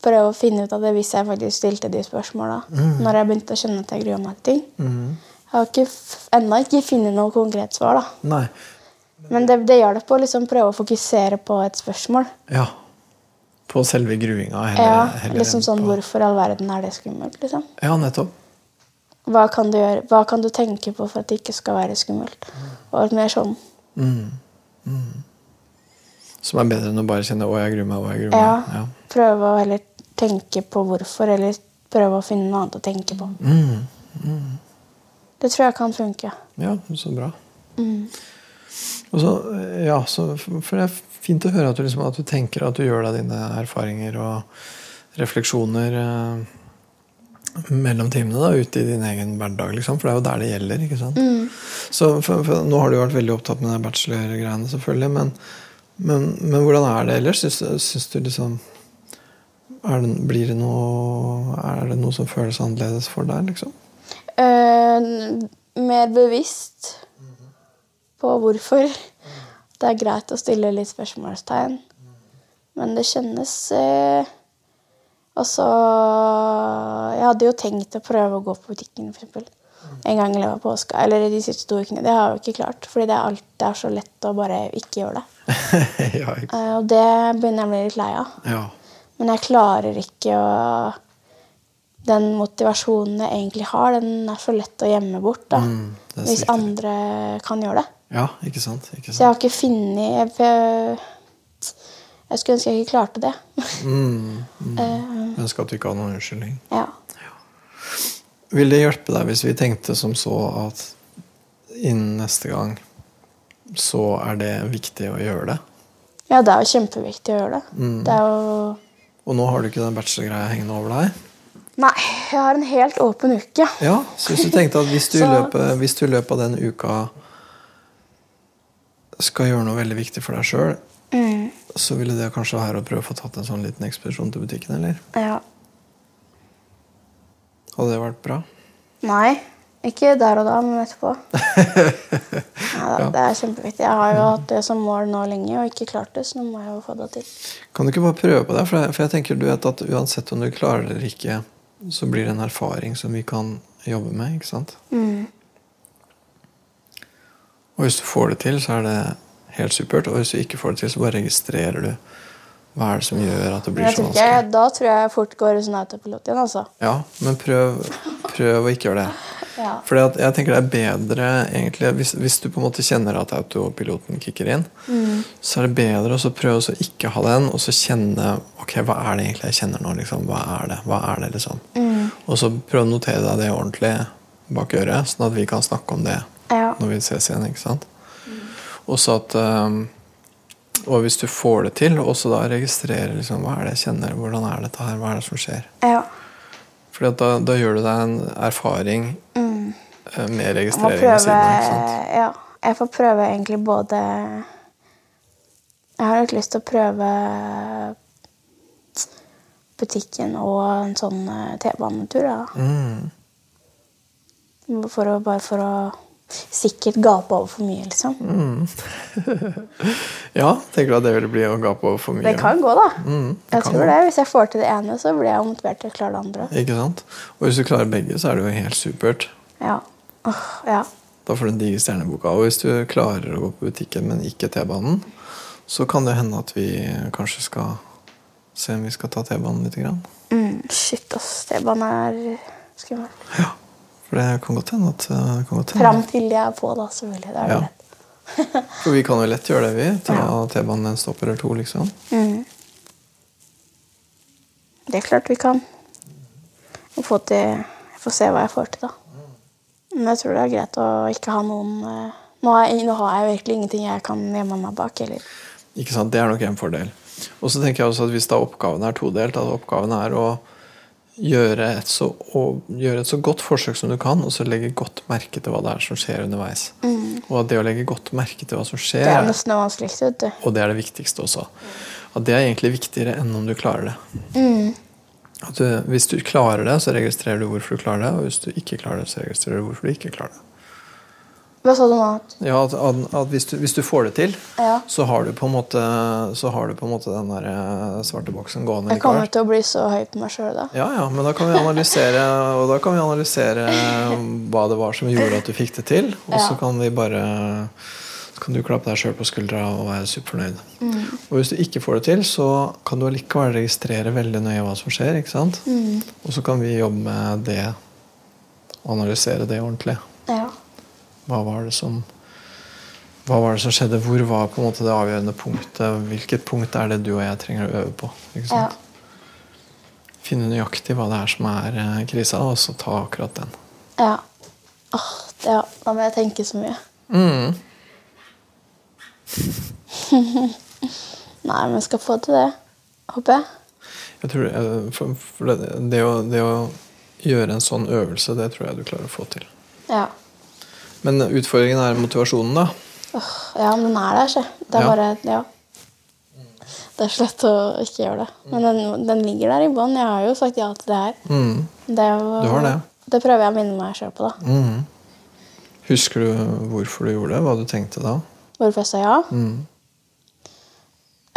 Speaker 3: prøve å finne ut av det hvis jeg faktisk stilte de spørsmåla. Når jeg begynte å kjenne at jeg grua meg til ting.
Speaker 2: Mhm.
Speaker 3: Jeg har ikke f- ennå ikke funnet noe konkret svar, da.
Speaker 2: Nei.
Speaker 3: Men det, det hjelper å liksom prøve å fokusere på et spørsmål.
Speaker 2: Ja. På selve gruinga. Heller,
Speaker 3: Ja,
Speaker 2: heller
Speaker 3: liksom
Speaker 2: enn
Speaker 3: sånn,
Speaker 2: på-
Speaker 3: Hvorfor i all verden er det skummelt? liksom?
Speaker 2: Ja, nettopp.
Speaker 3: Hva kan, du gjøre, hva kan du tenke på for at det ikke skal være skummelt? Og mer sånn,
Speaker 2: Mm. Som er bedre enn å bare kjenne 'å, jeg gruer meg', 'å, jeg gruer meg'.
Speaker 3: ja,
Speaker 2: Ja.
Speaker 3: Prøve å heller tenke på hvorfor, eller prøve å finne noe annet å tenke på.
Speaker 2: Mm.
Speaker 3: Det tror jeg kan funke.
Speaker 2: ja, så bra. Mm, Og så, ja, så, for det er fint å høre at du, liksom, at du tenker at du gjør deg dine erfaringer og refleksjoner eh, mellom timene da, ute i din egen hverdag, liksom, for det er jo der det gjelder. ikke sant? Så for, for, Nå har du jo vært veldig opptatt med de bachelorgreiene, selvfølgelig, men, men, men hvordan er det ellers? Syns, syns du liksom er det, blir det noe, er det noe som føles annerledes for deg, liksom?
Speaker 3: Eh, n- mer bevisst på hvorfor. Det er greit å stille litt spørsmålstegn, men det kjennes eh, Altså Jeg hadde jo tenkt å prøve å gå på butikken for eksempel, en gang i løpet av påska. Eller de siste to ukene. Det har jeg jo ikke klart, fordi det er, alt, det er så lett å bare ikke gjøre det.
Speaker 2: ja, ikke?
Speaker 3: Eh, og det begynner jeg å bli litt lei av.
Speaker 2: ja.
Speaker 3: Men jeg klarer ikke å Den motivasjonen jeg egentlig har, den er så lett å gjemme bort. da.
Speaker 2: Mm, det er
Speaker 3: Hvis
Speaker 2: riktig.
Speaker 3: andre kan gjøre det.
Speaker 2: ja, ikke sant? Ikke
Speaker 3: Så jeg
Speaker 2: sant?
Speaker 3: har ikke funnet jeg, jeg skulle ønske jeg ikke klarte det.
Speaker 2: Mm,
Speaker 3: Eh,
Speaker 2: jeg ønsker at du ikke har noen unnskyldning.
Speaker 3: ja.
Speaker 2: Vil det hjelpe deg hvis vi tenkte som så at innen neste gang så er det viktig å gjøre det?
Speaker 3: ja, det er jo kjempeviktig å gjøre det.
Speaker 2: Mm.
Speaker 3: Det er jo
Speaker 2: Og nå har du ikke den bachelorgreia hengende over deg?
Speaker 3: Nei, jeg har en helt åpen uke.
Speaker 2: Ja, så hvis du tenkte at hvis du, i
Speaker 3: Så-
Speaker 2: løpet, hvis du i løpet av den uka skal gjøre noe veldig viktig for deg sjøl, Mm. så ville det kanskje være å prøve å få tatt en sånn liten ekspedisjon til butikken, eller?
Speaker 3: Ja.
Speaker 2: Hadde det vært bra?
Speaker 3: Nei. Ikke der og da, men etterpå. Neida, Det er kjempeviktig. Jeg har jo
Speaker 2: Mm.
Speaker 3: hatt det som mål nå lenge og ikke klart det, så nå må jeg jo få det til.
Speaker 2: Kan du ikke bare prøve på det? For jeg, for jeg tenker du vet at Uansett om du klarer det eller ikke, så blir det en erfaring som vi kan jobbe med. ikke sant?
Speaker 3: Mm.
Speaker 2: Og hvis du får det til, så er det helt supert. Og hvis du ikke får det til, så bare registrerer du hva er det som gjør at det
Speaker 3: Men
Speaker 2: blir sånn
Speaker 3: jeg
Speaker 2: så
Speaker 3: tror ikke,
Speaker 2: vanskelig.
Speaker 3: da tror jeg fort går i sånn autopilot igjen, altså.
Speaker 2: Ja, Men prøv, prøv å ikke gjøre det.
Speaker 3: Ja.
Speaker 2: Fordi at jeg tenker det er bedre egentlig, hvis, hvis du på en måte kjenner at autopiloten kicker inn, så er det bedre å så prøve å så ikke ha den, og så kjenne ok, hva er det egentlig jeg kjenner nå. Liksom? Hva er det? Hva er det liksom? Og så prøv å notere deg det ordentlig bak øret, sånn at vi kan snakke om det
Speaker 3: Ja.
Speaker 2: når vi ses igjen. ikke sant? Og så at um, og hvis du får det til, også da registrere liksom, hva er det jeg kjenner, hvordan er dette her, hva er det som skjer.
Speaker 3: ja.
Speaker 2: Fordi at da, da gjør du deg en erfaring eh, med
Speaker 3: Mm. Jeg må
Speaker 2: registrering
Speaker 3: prøve
Speaker 2: ved siden av. ikke sant?
Speaker 3: Ja. Jeg får prøve egentlig både Jeg har litt lyst til å prøve butikken og en sånn eh, T-banetur. Ja.
Speaker 2: Mm.
Speaker 3: For å, bare for å sikkert gape over for mye, liksom.
Speaker 2: Mm, Ja, tenker du at det ville bli å gape over for mye?
Speaker 3: Det kan gå, da.
Speaker 2: Mm, det
Speaker 3: jeg
Speaker 2: kan
Speaker 3: tror
Speaker 2: gå.
Speaker 3: det. Hvis jeg får til det ene, så blir jeg motivert til å klare det andre.
Speaker 2: Ikke sant? Og hvis du klarer begge, så er det jo helt supert.
Speaker 3: Ja. Åh, ja.
Speaker 2: Da får du den digre stjerneboka. Og hvis du klarer å gå på butikken, men ikke T-banen, så kan det hende at vi kanskje skal se om vi skal ta T-banen litt. Grann.
Speaker 3: Mm, shit, ass. T-banen er skummel.
Speaker 2: Ja. For det kan godt hende at det kan godt hende.
Speaker 3: Fram til jeg er på, da, selvfølgelig. Da er det
Speaker 2: Ja.
Speaker 3: lett.
Speaker 2: For vi kan jo lett gjøre det, vi. Ta T-banen en stopper eller to, liksom.
Speaker 3: Mm. Det er klart vi kan. Og få til Jeg får se hva jeg får til, da. Men jeg tror det er greit å ikke ha noen eh, Nå har jeg, nå har jeg virkelig ingenting jeg kan gjemme meg bak heller.
Speaker 2: Ikke sant? Det er nok en fordel. Og så tenker jeg også at hvis da oppgaven er todelt, at oppgaven er å gjøre et, så, å gjøre et så godt forsøk som du kan, og så legge godt merke til hva det er som skjer underveis. Og at det å legge godt merke til hva som skjer,
Speaker 3: Mm. Det er nesten det vanskeligste, vet du.
Speaker 2: og det er det viktigste også. At det er egentlig viktigere enn om du klarer det.
Speaker 3: Mm.
Speaker 2: At du, hvis du klarer det, så registrerer du hvorfor du klarer det, og hvis du ikke klarer det, så registrerer du hvorfor du ikke klarer det.
Speaker 3: Hva sa du nå?
Speaker 2: Ja, at, at, at hvis, du, hvis du får det til,
Speaker 3: Ja.
Speaker 2: så har du på en måte Så har du på en måte den der eh, svarte boksen gående
Speaker 3: Jeg kommer
Speaker 2: likevel.
Speaker 3: til å bli så høy på meg sjøl da.
Speaker 2: Ja, ja, men da kan vi analysere Og da kan vi analysere hva det var som gjorde at du fikk det til. Og så
Speaker 3: Ja.
Speaker 2: kan vi bare så kan du klappe deg sjøl på skuldra og være superfornøyd.
Speaker 3: Mm,
Speaker 2: Og hvis du ikke får det til, så kan du allikevel registrere veldig nøye hva som skjer. ikke sant?
Speaker 3: Mm.
Speaker 2: Og så kan vi jobbe med det, analysere det ordentlig.
Speaker 3: Ja.
Speaker 2: Hva var det som hva var det som skjedde? Hvor var på en måte det avgjørende punktet? Hvilket punkt er det du og jeg trenger å øve på? Ikke
Speaker 3: ja.
Speaker 2: sant? Finne nøyaktig hva det er som er eh, krisa, og så ta akkurat den.
Speaker 3: ja. Åh, det, ja. Da må jeg tenke så mye.
Speaker 2: Mm.
Speaker 3: Nei, men jeg skal få til det. Håper jeg.
Speaker 2: Jeg tror, eh, for, for det, det, å, det å gjøre en sånn øvelse, det tror jeg du klarer å få til.
Speaker 3: Ja.
Speaker 2: Men utfordringen er motivasjonen, da.
Speaker 3: Åh, ja, men den er der, se. Det er
Speaker 2: Ja.
Speaker 3: bare Ja. Det er så lett å ikke gjøre det. Men den, den ligger der i bånn. Jeg har jo sagt ja til det her.
Speaker 2: Mm.
Speaker 3: Det er jo,
Speaker 2: Du har det.
Speaker 3: Det prøver jeg å minne meg sjøl på, da.
Speaker 2: Mm. Husker du hvorfor du gjorde det? Hva du tenkte da?
Speaker 3: Hvorfor jeg sa ja.
Speaker 2: Mm.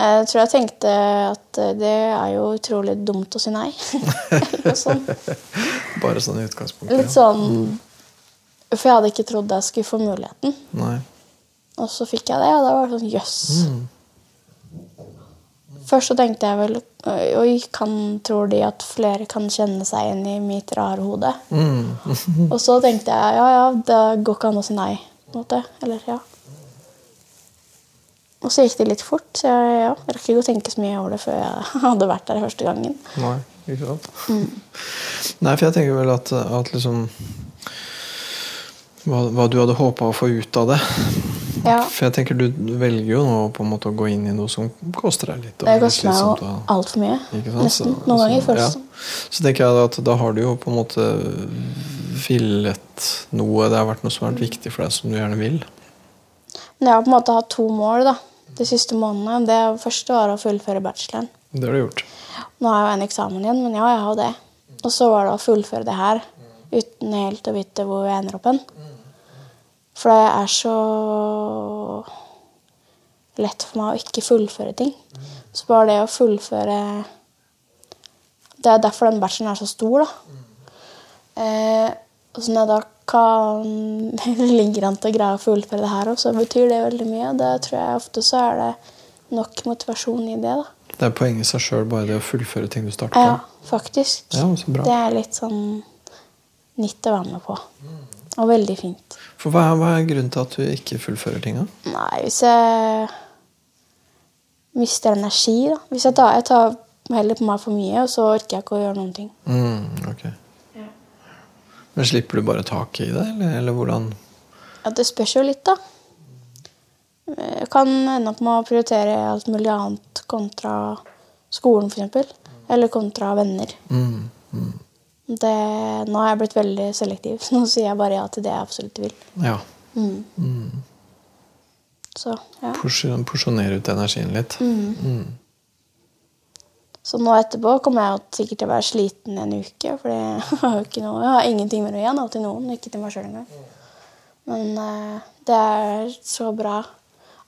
Speaker 3: Jeg tror jeg tenkte at eh, det er jo utrolig dumt å si nei. Eller noe sånt.
Speaker 2: Bare sånn i utgangspunktet.
Speaker 3: Litt
Speaker 2: ja.
Speaker 3: sånn For jeg hadde ikke trodd jeg skulle få muligheten.
Speaker 2: Nei. Mm.
Speaker 3: Og så fikk jeg det, og da var det sånn jøss. Først så tenkte jeg vel «Oi, Oi, kan, tror de at flere kan kjenne seg igjen i mitt rare hode?
Speaker 2: Mm.
Speaker 3: Og så tenkte jeg ja, ja, det går ikke an å si nei. på en måte. Eller ja. Og så gikk det litt fort, så jeg ja, jeg rakk ikke å tenke så mye over det før jeg hadde vært der første gangen.
Speaker 2: Nei, ikke sant? Nei, for jeg tenker vel at, at liksom hva, hva du hadde håpa å få ut av det.
Speaker 3: Ja,
Speaker 2: For jeg tenker du velger jo nå på en måte å gå inn i noe som koster deg litt. og
Speaker 3: Det
Speaker 2: er litt
Speaker 3: koster meg
Speaker 2: slitsomt
Speaker 3: jo
Speaker 2: og-
Speaker 3: altfor mye.
Speaker 2: ikke sant?
Speaker 3: Nesten.
Speaker 2: Så-
Speaker 3: Noen
Speaker 2: så-
Speaker 3: ganger føles
Speaker 2: ja.
Speaker 3: det sånn.
Speaker 2: Så tenker jeg at da har du jo på en måte villet noe. Det har vært noe som har vært viktig for deg, som du gjerne vil.
Speaker 3: Men jeg har på en måte hatt to mål da, de siste månedene. Det første var å fullføre bacheloren.
Speaker 2: Det har du gjort.
Speaker 3: Nå har jeg jo en eksamen igjen, men ja, jeg har jo det. Og så var det å fullføre det her uten helt å vite hvor jeg ender opp hen. For det er så lett for meg å ikke fullføre ting. Så bare det å fullføre Det er derfor den bacheloren er så stor, da. Eh, og så når jeg da kan ligger an til å greie å fullføre det her òg, så betyr det veldig mye. Det tror jeg ofte så er det nok motivasjon i det, da.
Speaker 2: Det er poenget i seg sjøl, bare det å fullføre ting du starter
Speaker 3: Ja,
Speaker 2: på.
Speaker 3: faktisk.
Speaker 2: Ja, men så bra.
Speaker 3: Det er litt sånn nytt å være med på. Og veldig fint.
Speaker 2: For hva er, hva er grunnen til at du ikke fullfører tinga?
Speaker 3: Nei, hvis jeg mister energi, da. Hvis jeg tar, jeg tar heller på meg for mye, og så orker jeg ikke å gjøre noen ting.
Speaker 2: Mm, ok. Men slipper du bare taket i det, eller, eller hvordan?
Speaker 3: Ja, det spørs jo litt, da. Jeg kan ende opp med å prioritere alt mulig annet kontra skolen, f.eks. Eller kontra venner.
Speaker 2: Mm.
Speaker 3: Det, nå har jeg blitt veldig selektiv. så Nå sier jeg bare ja til det jeg absolutt vil.
Speaker 2: Ja.
Speaker 3: Mm. Så, ja.
Speaker 2: Mm, Porsjon- Porsjonere ut energien litt. Mm.
Speaker 3: Så nå etterpå kommer jeg jo sikkert til å være sliten en uke. For jeg har jo ikke noe, jeg har ingenting med noe igjen. Og til noen, ikke til meg sjøl engang. Men eh, det er så bra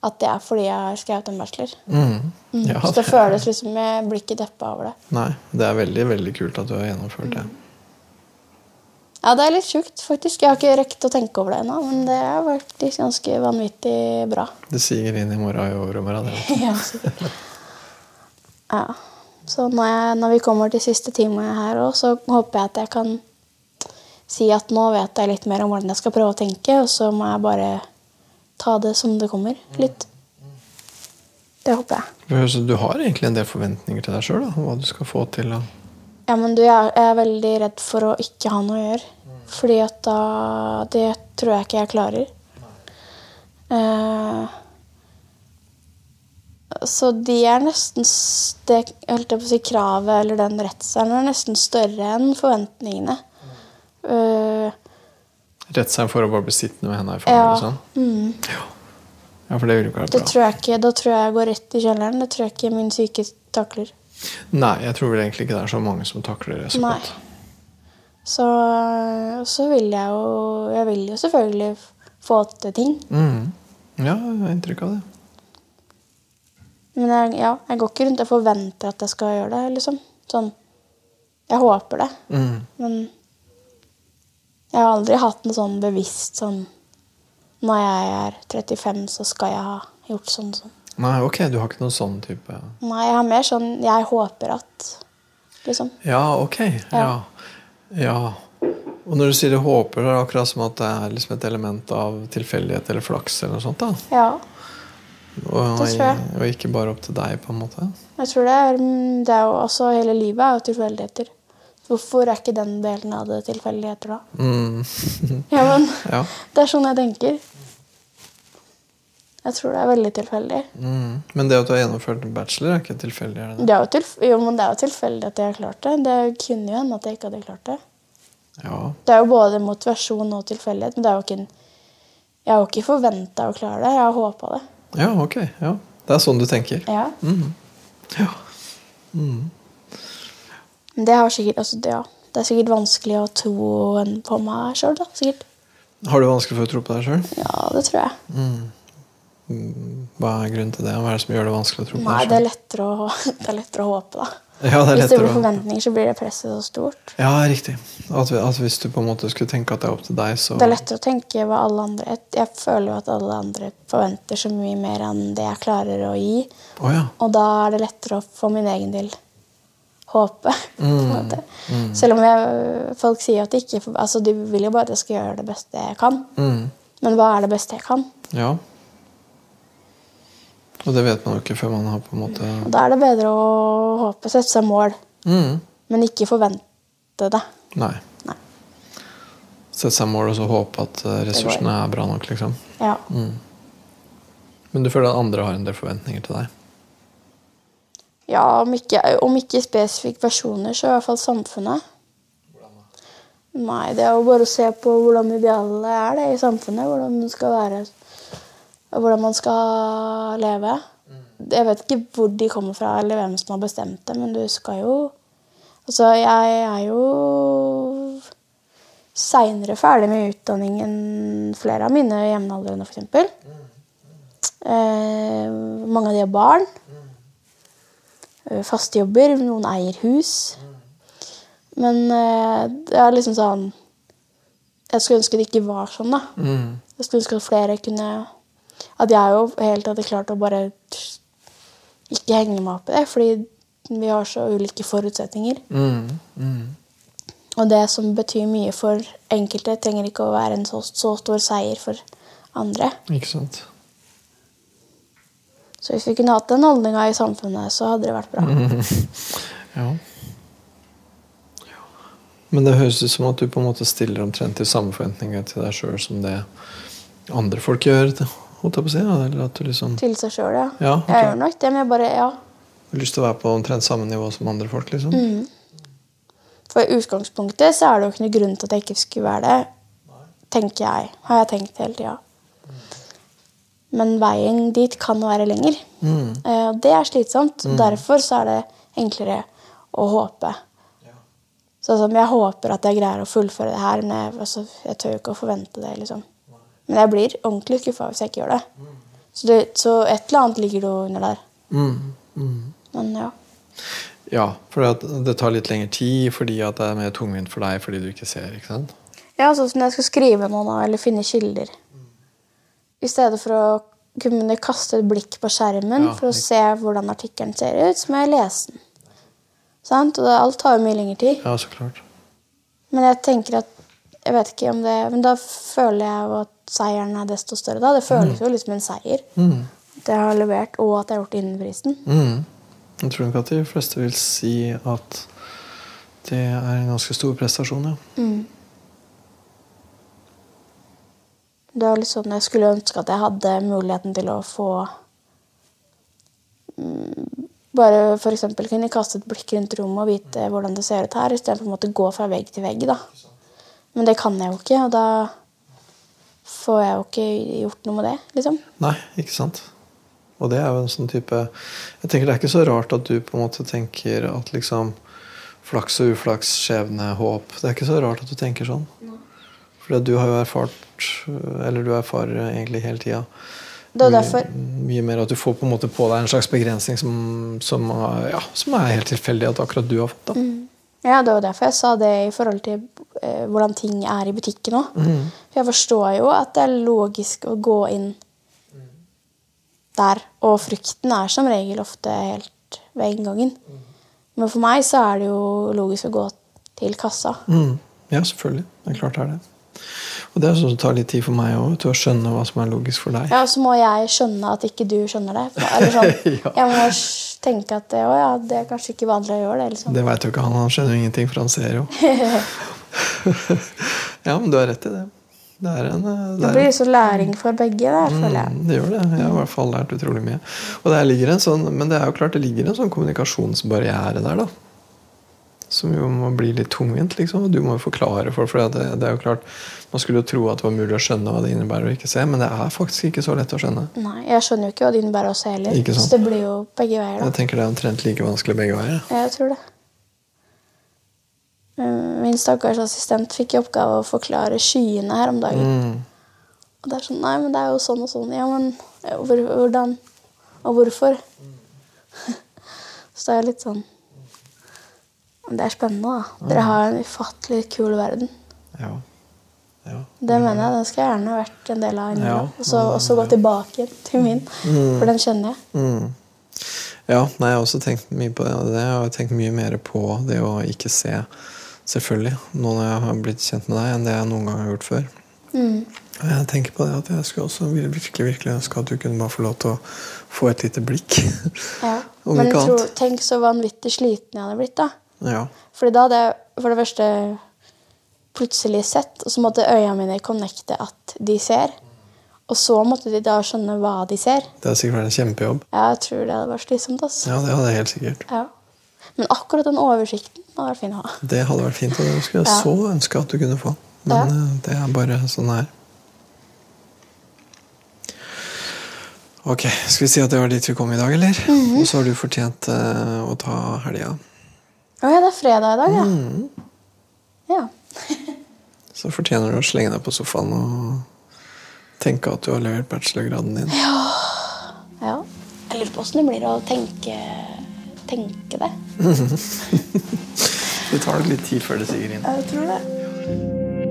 Speaker 3: at det er fordi jeg har skrevet en bachelor.
Speaker 2: Mm.
Speaker 3: Mm.
Speaker 2: Ja,
Speaker 3: så det føles liksom Jeg blir ikke deppa over det.
Speaker 2: Nei, det er veldig, veldig kult at du har gjennomført det.
Speaker 3: Mm. Ja, det er litt sjukt, faktisk. Jeg har ikke rekt å tenke over det ennå, men det har vært ganske vanvittig bra.
Speaker 2: Det siger inn i morgen og i overmorgen. det.
Speaker 3: ja, sikkert. Ja. Så når, jeg, når vi kommer til siste time her òg, så håper jeg at jeg kan si at nå vet jeg litt mer om hvordan jeg skal prøve å tenke, og så må jeg bare ta det som det kommer. Litt. Det håper jeg.
Speaker 2: For, så Du har egentlig en del forventninger til deg sjøl om hva du skal få til. Og...
Speaker 3: Ja, men du, jeg er- jeg er veldig redd for å ikke ha noe å gjøre. Fordi at da Det tror jeg ikke jeg klarer. Eh, så de er nesten s- Det jeg holdt jeg på å si kravet eller den redselen er nesten større enn forventningene. Eh,
Speaker 2: Rett seg for å bare bli sittende med henda i fanget.
Speaker 3: ja.
Speaker 2: og Sånn.
Speaker 3: Mm.
Speaker 2: Ja, for det vil jo ikke være
Speaker 3: Det
Speaker 2: bra.
Speaker 3: tror jeg ikke, da tror jeg jeg går rett i kjelleren. Det tror jeg ikke min syke takler.
Speaker 2: Nei, jeg tror vel egentlig ikke det er så mange som takler det så
Speaker 3: Nei.
Speaker 2: godt.
Speaker 3: Så, så vil jeg jo Jeg vil jo selvfølgelig f- få til ting.
Speaker 2: Mm. Ja, jeg har inntrykk av det.
Speaker 3: Men jeg, ja, jeg går ikke rundt og forventer at jeg skal gjøre det. liksom. Sånn, Jeg håper det,
Speaker 2: Mm.
Speaker 3: men jeg har aldri hatt en sånn bevisst sånn Når jeg er 35, så skal jeg ha gjort sånn og sånn.
Speaker 2: Nei, ok, du har ikke noen sånn type
Speaker 3: Nei, jeg har mer sånn Jeg håper at Liksom.
Speaker 2: Ja, ok. Ja. ja. Og når du sier det håper, så er det akkurat som at det er liksom et element av tilfeldighet eller flaks. eller noe sånt da.
Speaker 3: Ja.
Speaker 2: Og,
Speaker 3: Det tror jeg.
Speaker 2: og ikke bare opp til deg, på en måte.
Speaker 3: Jeg tror det er, mm, det er jo også Hele livet er jo tilfeldigheter. Hvorfor er ikke den delen av det tilfeldigheter, da?
Speaker 2: Mm.
Speaker 3: Ja, men
Speaker 2: ja.
Speaker 3: Det er sånn jeg tenker. Jeg tror det er veldig tilfeldig.
Speaker 2: Mm. Men det at du har gjennomført en bachelor, er ikke tilfeldig? er det det?
Speaker 3: Det er jo, tilf jo, men det er jo tilfeldig at jeg har klart det. Det kunne jo hende at jeg ikke hadde klart det.
Speaker 2: Ja.
Speaker 3: Det er jo både motivasjon og tilfeldighet, men det er jo ikke en jeg har jo ikke forventa å klare det. Jeg har håpa det.
Speaker 2: ja, ok. Ja. Det er sånn du tenker?
Speaker 3: Ja.
Speaker 2: Mm. Ja. Mm.
Speaker 3: Men det, har sikkert, altså, det, ja. det er sikkert vanskelig å tro en på meg sjøl, da. Sikkert.
Speaker 2: Har du vanskelig for å tro på deg sjøl?
Speaker 3: Ja, det tror jeg.
Speaker 2: Mm. Hva er grunnen til det? Hva er det som gjør det vanskelig å tro på
Speaker 3: Nei, det
Speaker 2: deg
Speaker 3: er
Speaker 2: sjøl?
Speaker 3: lettere å, det er lettere å håpe, da.
Speaker 2: Ja, det er
Speaker 3: Hvis det
Speaker 2: lettere
Speaker 3: blir
Speaker 2: å-
Speaker 3: forventninger, så blir det presset så stort.
Speaker 2: Ja, riktig. At, vi- at hvis du på en måte skulle tenke at det er opp til deg, så
Speaker 3: Det er lettere å tenke hva alle andre Jeg, jeg føler jo at alle andre forventer så mye mer enn det jeg klarer å gi.
Speaker 2: Å ja.
Speaker 3: Og da er det lettere å for min egen del håpe. på
Speaker 2: Mm,
Speaker 3: en måte. Selv om jeg, folk sier at de ikke altså De vil jo bare at jeg skal gjøre det beste jeg kan.
Speaker 2: Mm.
Speaker 3: Men hva er det beste jeg kan?
Speaker 2: Ja. Og det vet man jo ikke før man har på en måte
Speaker 3: Og da er det bedre å håpe, sette seg mål,
Speaker 2: mm.
Speaker 3: men ikke forvente det.
Speaker 2: Nei.
Speaker 3: Nei.
Speaker 2: Sette seg mål og så håpe at eh, ressursene er bra nok, liksom.
Speaker 3: Ja.
Speaker 2: Men du føler at andre har en del forventninger til deg?
Speaker 3: ja om, ikke, om ikke spesifikke personer, så i hvert fall samfunnet. Nei, det er jo bare å se på hvordan idealet er det i samfunnet. Hvordan man skal være og hvordan man skal leve. Jeg vet ikke hvor de kommer fra, eller hvem som har bestemt det, men du skal jo Altså, jeg er jo seinere ferdig med utdanning enn flere av mine jevnaldrende, f.eks. Eh, mange av de har barn. Eh, Faste jobber. Noen eier hus. Men eh, det er liksom sånn Jeg skulle ønske det ikke var sånn, da.
Speaker 2: Mm.
Speaker 3: Jeg skulle ønske at flere kunne At jeg jo helt hadde klart å bare ikke henge meg opp i det, fordi vi har så ulike forutsetninger.
Speaker 2: Mm. Mm.
Speaker 3: Og det som betyr mye for enkelte, trenger ikke å være en så, så stor seier for andre.
Speaker 2: Ikke sant?
Speaker 3: Så hvis vi kunne hatt den holdninga i samfunnet, så hadde det vært bra.
Speaker 2: Mm. Ja. Ja. Men det høres ut som at du på en måte stiller omtrent de samme forventninger til deg sjøl som det andre folk gjør. til- Holdt jeg på å si, ja. Eller at du liksom
Speaker 3: Til seg sjøl, ja.
Speaker 2: Ja, ok.
Speaker 3: Jeg gjør nok det, men jeg bare Ja.
Speaker 2: har lyst til å være på omtrent samme nivå som andre folk, liksom.
Speaker 3: For i utgangspunktet så er det jo ikke noen grunn til at jeg ikke skulle være det, tenker jeg. Har jeg tenkt hele tida. Men veien dit kan være lenger.
Speaker 2: Mm.
Speaker 3: Eh, og Det er slitsomt. Derfor så er det enklere og håpe. Sånn som jeg håper at jeg greier å fullføre det her, men jeg, altså, jeg tør jo ikke å forvente det. liksom. Men jeg blir ordentlig skuffa hvis jeg ikke gjør det. Så, det. så et eller annet ligger det jo under der. Men
Speaker 2: Mm.
Speaker 3: ja.
Speaker 2: Ja, for det, at det tar litt lengre tid fordi at det er mer tungvint for deg fordi du ikke ser. ikke sant?
Speaker 3: Ja, sånn som når jeg skal skrive noe nå, eller finne kilder. I stedet for å kunne kaste et blikk på skjermen
Speaker 2: Ja,
Speaker 3: for å
Speaker 2: riktig.
Speaker 3: se hvordan artikkelen ser ut, så må jeg lese den. Sant? Og det, alt tar jo mye lengre tid.
Speaker 2: Ja, så klart.
Speaker 3: Men jeg tenker at jeg vet ikke om det, men da føler jeg jo at seieren er desto større. da. Det føles jo litt som en seier. At jeg har levert, og at jeg har gjort det innen fristen.
Speaker 2: Mm. Jeg tror nok at de fleste vil si at det er en ganske stor prestasjon, ja.
Speaker 3: Det var litt sånn Jeg skulle ønske at jeg hadde muligheten til å få mm, Bare f.eks. kunne kaste et blikk rundt rommet og vite hvordan det ser ut her, istedenfor å måtte gå fra vegg til vegg. da. Men det kan jeg jo ikke, og da får jeg jo ikke gjort noe med det. liksom.
Speaker 2: Nei, ikke sant? Og det er jo en sånn type Jeg tenker det er ikke så rart at du på en måte tenker at liksom flaks og uflaks, skjebne, håp Det er ikke så rart at du tenker sånn. For du har jo erfart, eller du erfarer egentlig hele tida
Speaker 3: Det
Speaker 2: Mm.
Speaker 3: var derfor
Speaker 2: mye mer at du får på en måte på deg en slags begrensning som, som, er- ja, som er helt tilfeldig at akkurat du har fått. da.
Speaker 3: Mm. Ja, det var derfor jeg sa det i forhold til eh, hvordan ting er i butikken òg.
Speaker 2: Mhm.
Speaker 3: For jeg forstår jo at det er logisk å gå inn der. Og frukten er som regel ofte helt ved inngangen.
Speaker 2: Mhm.
Speaker 3: Men for meg så er det jo logisk å gå til kassa.
Speaker 2: Mm. Ja, selvfølgelig. Det er klart det er det. Og det er sånn som tar litt tid for meg òg, til å skjønne hva som er logisk for deg.
Speaker 3: Ja, og så må jeg skjønne at ikke du skjønner det. For- Eller sånn,
Speaker 2: Ja.
Speaker 3: Jeg må s- tenke at det, å, ja, det er kanskje ikke vanlig å gjøre det. Liksom.
Speaker 2: Det veit jo ikke han. Han skjønner jo ingenting, for han ser jo. ja, men du har rett i det. Det er en eh,
Speaker 3: Det
Speaker 2: er
Speaker 3: blir liksom læring for begge der, føler jeg.
Speaker 2: Mm, det gjør det. Jeg har i hvert fall lært utrolig mye. Og der ligger en sånn, men det er jo klart det ligger en sånn kommunikasjonsbarriere der, da. Som jo må bli litt tungvint, liksom. Og du må jo forklare for for det, det er jo klart, Man skulle jo tro at det var mulig å skjønne hva det innebærer å ikke se, men det er faktisk ikke så lett å skjønne.
Speaker 3: Nei, Jeg skjønner jo ikke hva det innebærer også heller.
Speaker 2: Mhm. Ikke sant?
Speaker 3: Så det blir jo begge veier. da.
Speaker 2: Jeg tenker det er omtrent like vanskelig begge veier.
Speaker 3: Ja, Jeg tror det. Mm, Min stakkars assistent fikk i oppgave å forklare skyene her om dagen.
Speaker 2: Mm.
Speaker 3: Og det er sånn Nei, men det er jo sånn og sånn. Ja, men eh, hvor, hvordan? Og hvorfor? Så det er jo litt sånn Men Det er spennende, da.
Speaker 2: Mm.
Speaker 3: Dere har en ufattelig kul verden.
Speaker 2: Ja. ja.
Speaker 3: Det mener jeg. Den skal jeg gjerne vært en del av innimellom.
Speaker 2: Mm. Ja.
Speaker 3: Og så- Og så gå tilbake igjen til min, for den kjenner jeg.
Speaker 2: Mm. Ja, nei, jeg har også tenkt mye på det, og det, og jeg har tenkt mye mer på det å ikke se, selvfølgelig, nå når jeg har blitt kjent med deg, enn det jeg noen gang har gjort før. Og jeg tenker på det at jeg skulle også vir- virkelig, virkelig ønske at du kunne bare få lov til å få et lite blikk.
Speaker 3: Ja.
Speaker 2: Om
Speaker 3: Men
Speaker 2: ikke
Speaker 3: tro,
Speaker 2: annet.
Speaker 3: tenk så vanvittig sliten jeg hadde blitt, da.
Speaker 2: Ja.
Speaker 3: Fordi da hadde jeg for det første plutselig sett, og så måtte øya mine connecte at de ser. Og så måtte de da skjønne hva de ser.
Speaker 2: Det har sikkert vært en kjempejobb.
Speaker 3: Jeg tror det hadde vært slitsomt. ass.
Speaker 2: Ja, det hadde jeg helt sikkert.
Speaker 3: Ja. Men akkurat den oversikten hadde vært fin å ha.
Speaker 2: Det hadde vært fint, og det skulle jeg
Speaker 3: Ja.
Speaker 2: så ønske at du kunne få. Men
Speaker 3: Ja.
Speaker 2: eh, det er bare sånn her. Ok, skal vi si at det var dit vi kom i dag, eller?
Speaker 3: Mhm.
Speaker 2: Og så har du fortjent eh, å ta helga.
Speaker 3: Å ja, det er fredag i dag, ja. Ja.
Speaker 2: Så fortjener du å slenge deg på sofaen og tenke at du har levert bachelorgraden din.
Speaker 3: ja. Jeg lurer på åssen det blir å tenke, tenke det.
Speaker 2: Det tar nok litt tid før det siger inn.
Speaker 3: Jeg tror det.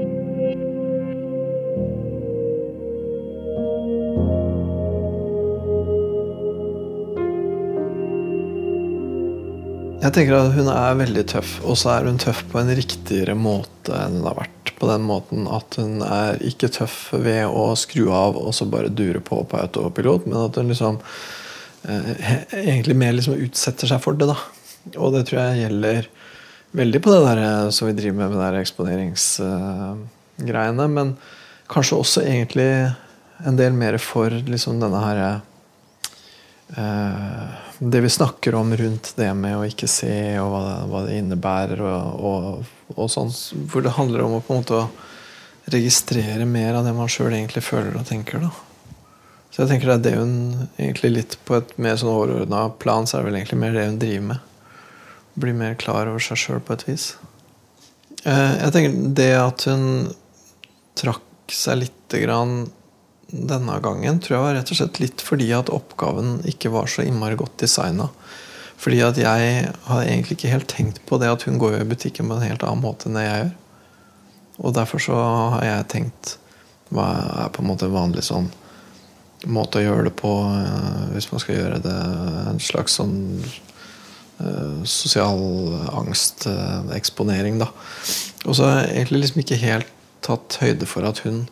Speaker 2: Jeg tenker at hun er veldig tøff, og så er hun tøff på en riktigere måte enn hun har vært. På den måten at hun er ikke tøff ved å skru av og så bare dure på på autopilot, men at hun liksom eh, he- egentlig mer liksom utsetter seg for det, da. Og det tror jeg gjelder veldig på det der eh, som vi driver med med de eksponeringsgreiene, men kanskje også egentlig en del mer for liksom denne her eh, eh, det vi snakker om rundt det med å ikke se, og hva det, hva det innebærer, og, og, og sånn, hvor det handler om å på en måte å registrere mer av det man sjøl egentlig føler og tenker. da Så jeg tenker det er det hun egentlig litt på et mer sånn overordna plan, så er det vel egentlig mer det hun driver med. bli mer klar over seg sjøl på et vis. Eh, Jeg tenker det at hun trakk seg lite grann denne gangen, tror jeg var rett og slett litt fordi at oppgaven ikke var så innmari godt designa. Fordi at jeg hadde egentlig ikke helt tenkt på det at hun går jo i butikken på en helt annen måte enn det jeg gjør. Og derfor så har jeg tenkt hva er på en måte vanlig sånn måte å gjøre det på eh, hvis man skal gjøre det en slags sånn eh, sosial angsteksponering, da. Og så har jeg egentlig liksom ikke helt tatt høyde for at hun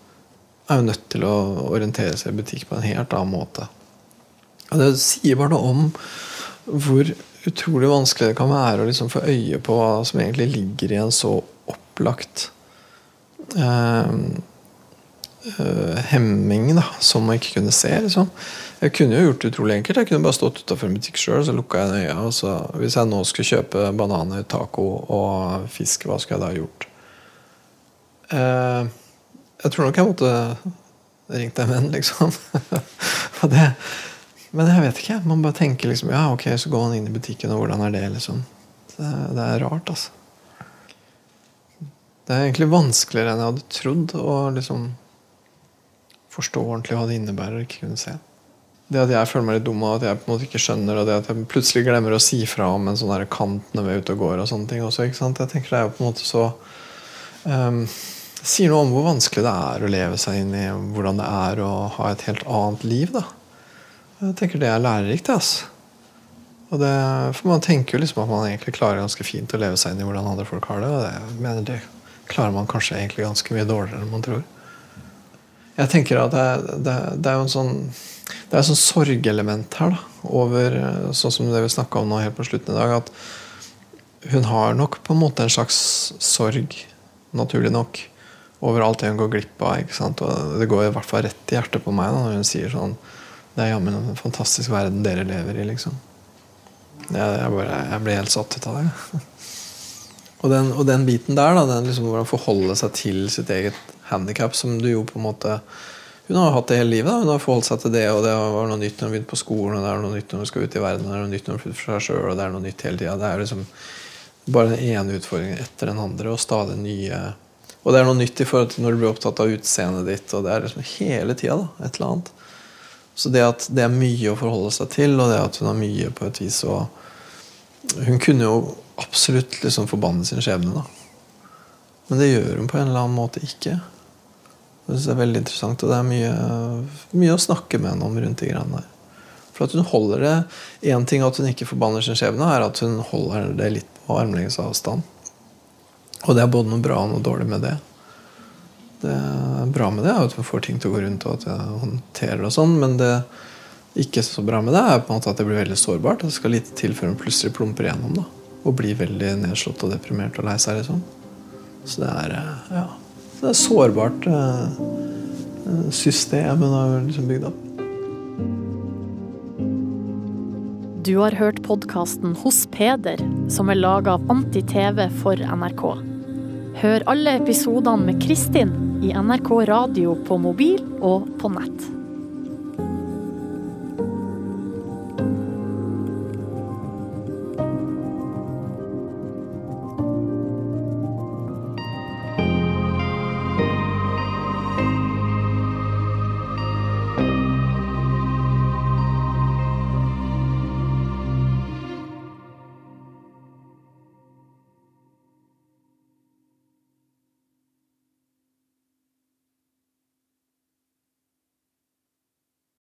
Speaker 2: er jo nødt til å orientere seg i butikk på en helt annen måte. Og det sier bare noe om hvor utrolig vanskelig det kan være å liksom få øye på hva som egentlig ligger i en så opplagt eh, eh, hemming da, som å ikke kunne se. Liksom. Jeg kunne jo gjort det utrolig enkelt. Jeg kunne bare stått utafor en butikk sjøl så lukka jeg øya. Og så, hvis jeg nå skulle kjøpe bananer, taco og fisk, hva skulle jeg da gjort? Eh, jeg tror nok jeg måtte ringt en venn, liksom. Og det, men jeg vet ikke. Man bare tenker liksom Ja, ok, så går man inn i butikken, og hvordan er det, liksom? Det, det er rart, altså. Det er egentlig vanskeligere enn jeg hadde trodd å liksom forstå ordentlig hva det innebærer å ikke kunne se. Det at jeg føler meg litt dum og at jeg på en måte ikke skjønner, og det at jeg plutselig glemmer å si fra om en sånn der kant når vi er ute og går og sånne ting også, ikke sant? Jeg tenker det er jo på en måte så ehm, Det sier noe om hvor vanskelig det er å leve seg inn i hvordan det er å ha et helt annet liv, da. Jeg tenker det er lærerikt, det, altså. Og det, for man tenker jo liksom at man egentlig klarer ganske fint å leve seg inn i hvordan andre folk har det, og det, jeg mener det klarer man kanskje egentlig ganske mye dårligere enn man tror. Jeg tenker at det, er- det, er- det er jo en sånn det er et sånt sorgelement her, da, over eh, sånn som det vi snakka om nå helt på slutten i dag, at hun har nok på en måte en slags sorg, naturlig nok, over alt det hun går glipp av. ikke sant? Og det går i hvert fall rett i hjertet på meg da, når hun sier sånn Det er jammen en fantastisk verden dere lever i, liksom. Jeg, jeg, bare, jeg blir helt satt ut av det. jeg. Og den, og den biten der, da, den liksom hvordan forholde seg til sitt eget handikap, som du jo på en måte Hun har jo hatt det hele livet. da, Hun har forholdt seg til det, og det var noe nytt når hun begynte på skolen, og det er noe nytt når hun skal ut i verden, og det er noe nytt når hun flytter for seg sjøl, og det er noe nytt hele tida. Det er liksom bare den ene utfordringen etter den andre, og stadig nye Og det er noe nytt i forhold til når du blir opptatt av utseendet ditt, og det er liksom hele tida et eller annet. Så det at det er mye å forholde seg til, og det at hun har mye på et vis å hun kunne jo absolutt liksom forbanne sin skjebne, da. Men det gjør hun på en eller annen måte ikke. Det synes jeg er veldig interessant, og det er mye, mye å snakke med henne om rundt de greiene der. For at hun holder det Én ting at hun ikke forbanner sin skjebne, er at hun holder det litt på armlengdes avstand. Og det er både noe bra og noe dårlig med det. Det bra med det er jo at hun får ting til å gå rundt, og at hun håndterer det og sånn, men det ikke så bra med det er på en måte at det blir veldig sårbart. Det skal lite til før hun plutselig plumper igjennom da, og blir veldig nedslått og deprimert og lei seg. liksom. Så det er eh, ja, det er et sårbart eh, eh, system hun har liksom bygd opp.
Speaker 1: Du har hørt podkasten Hos Peder, som er laga av Anti-TV for NRK. Hør alle episodene med Kristin i NRK Radio på mobil og på nett.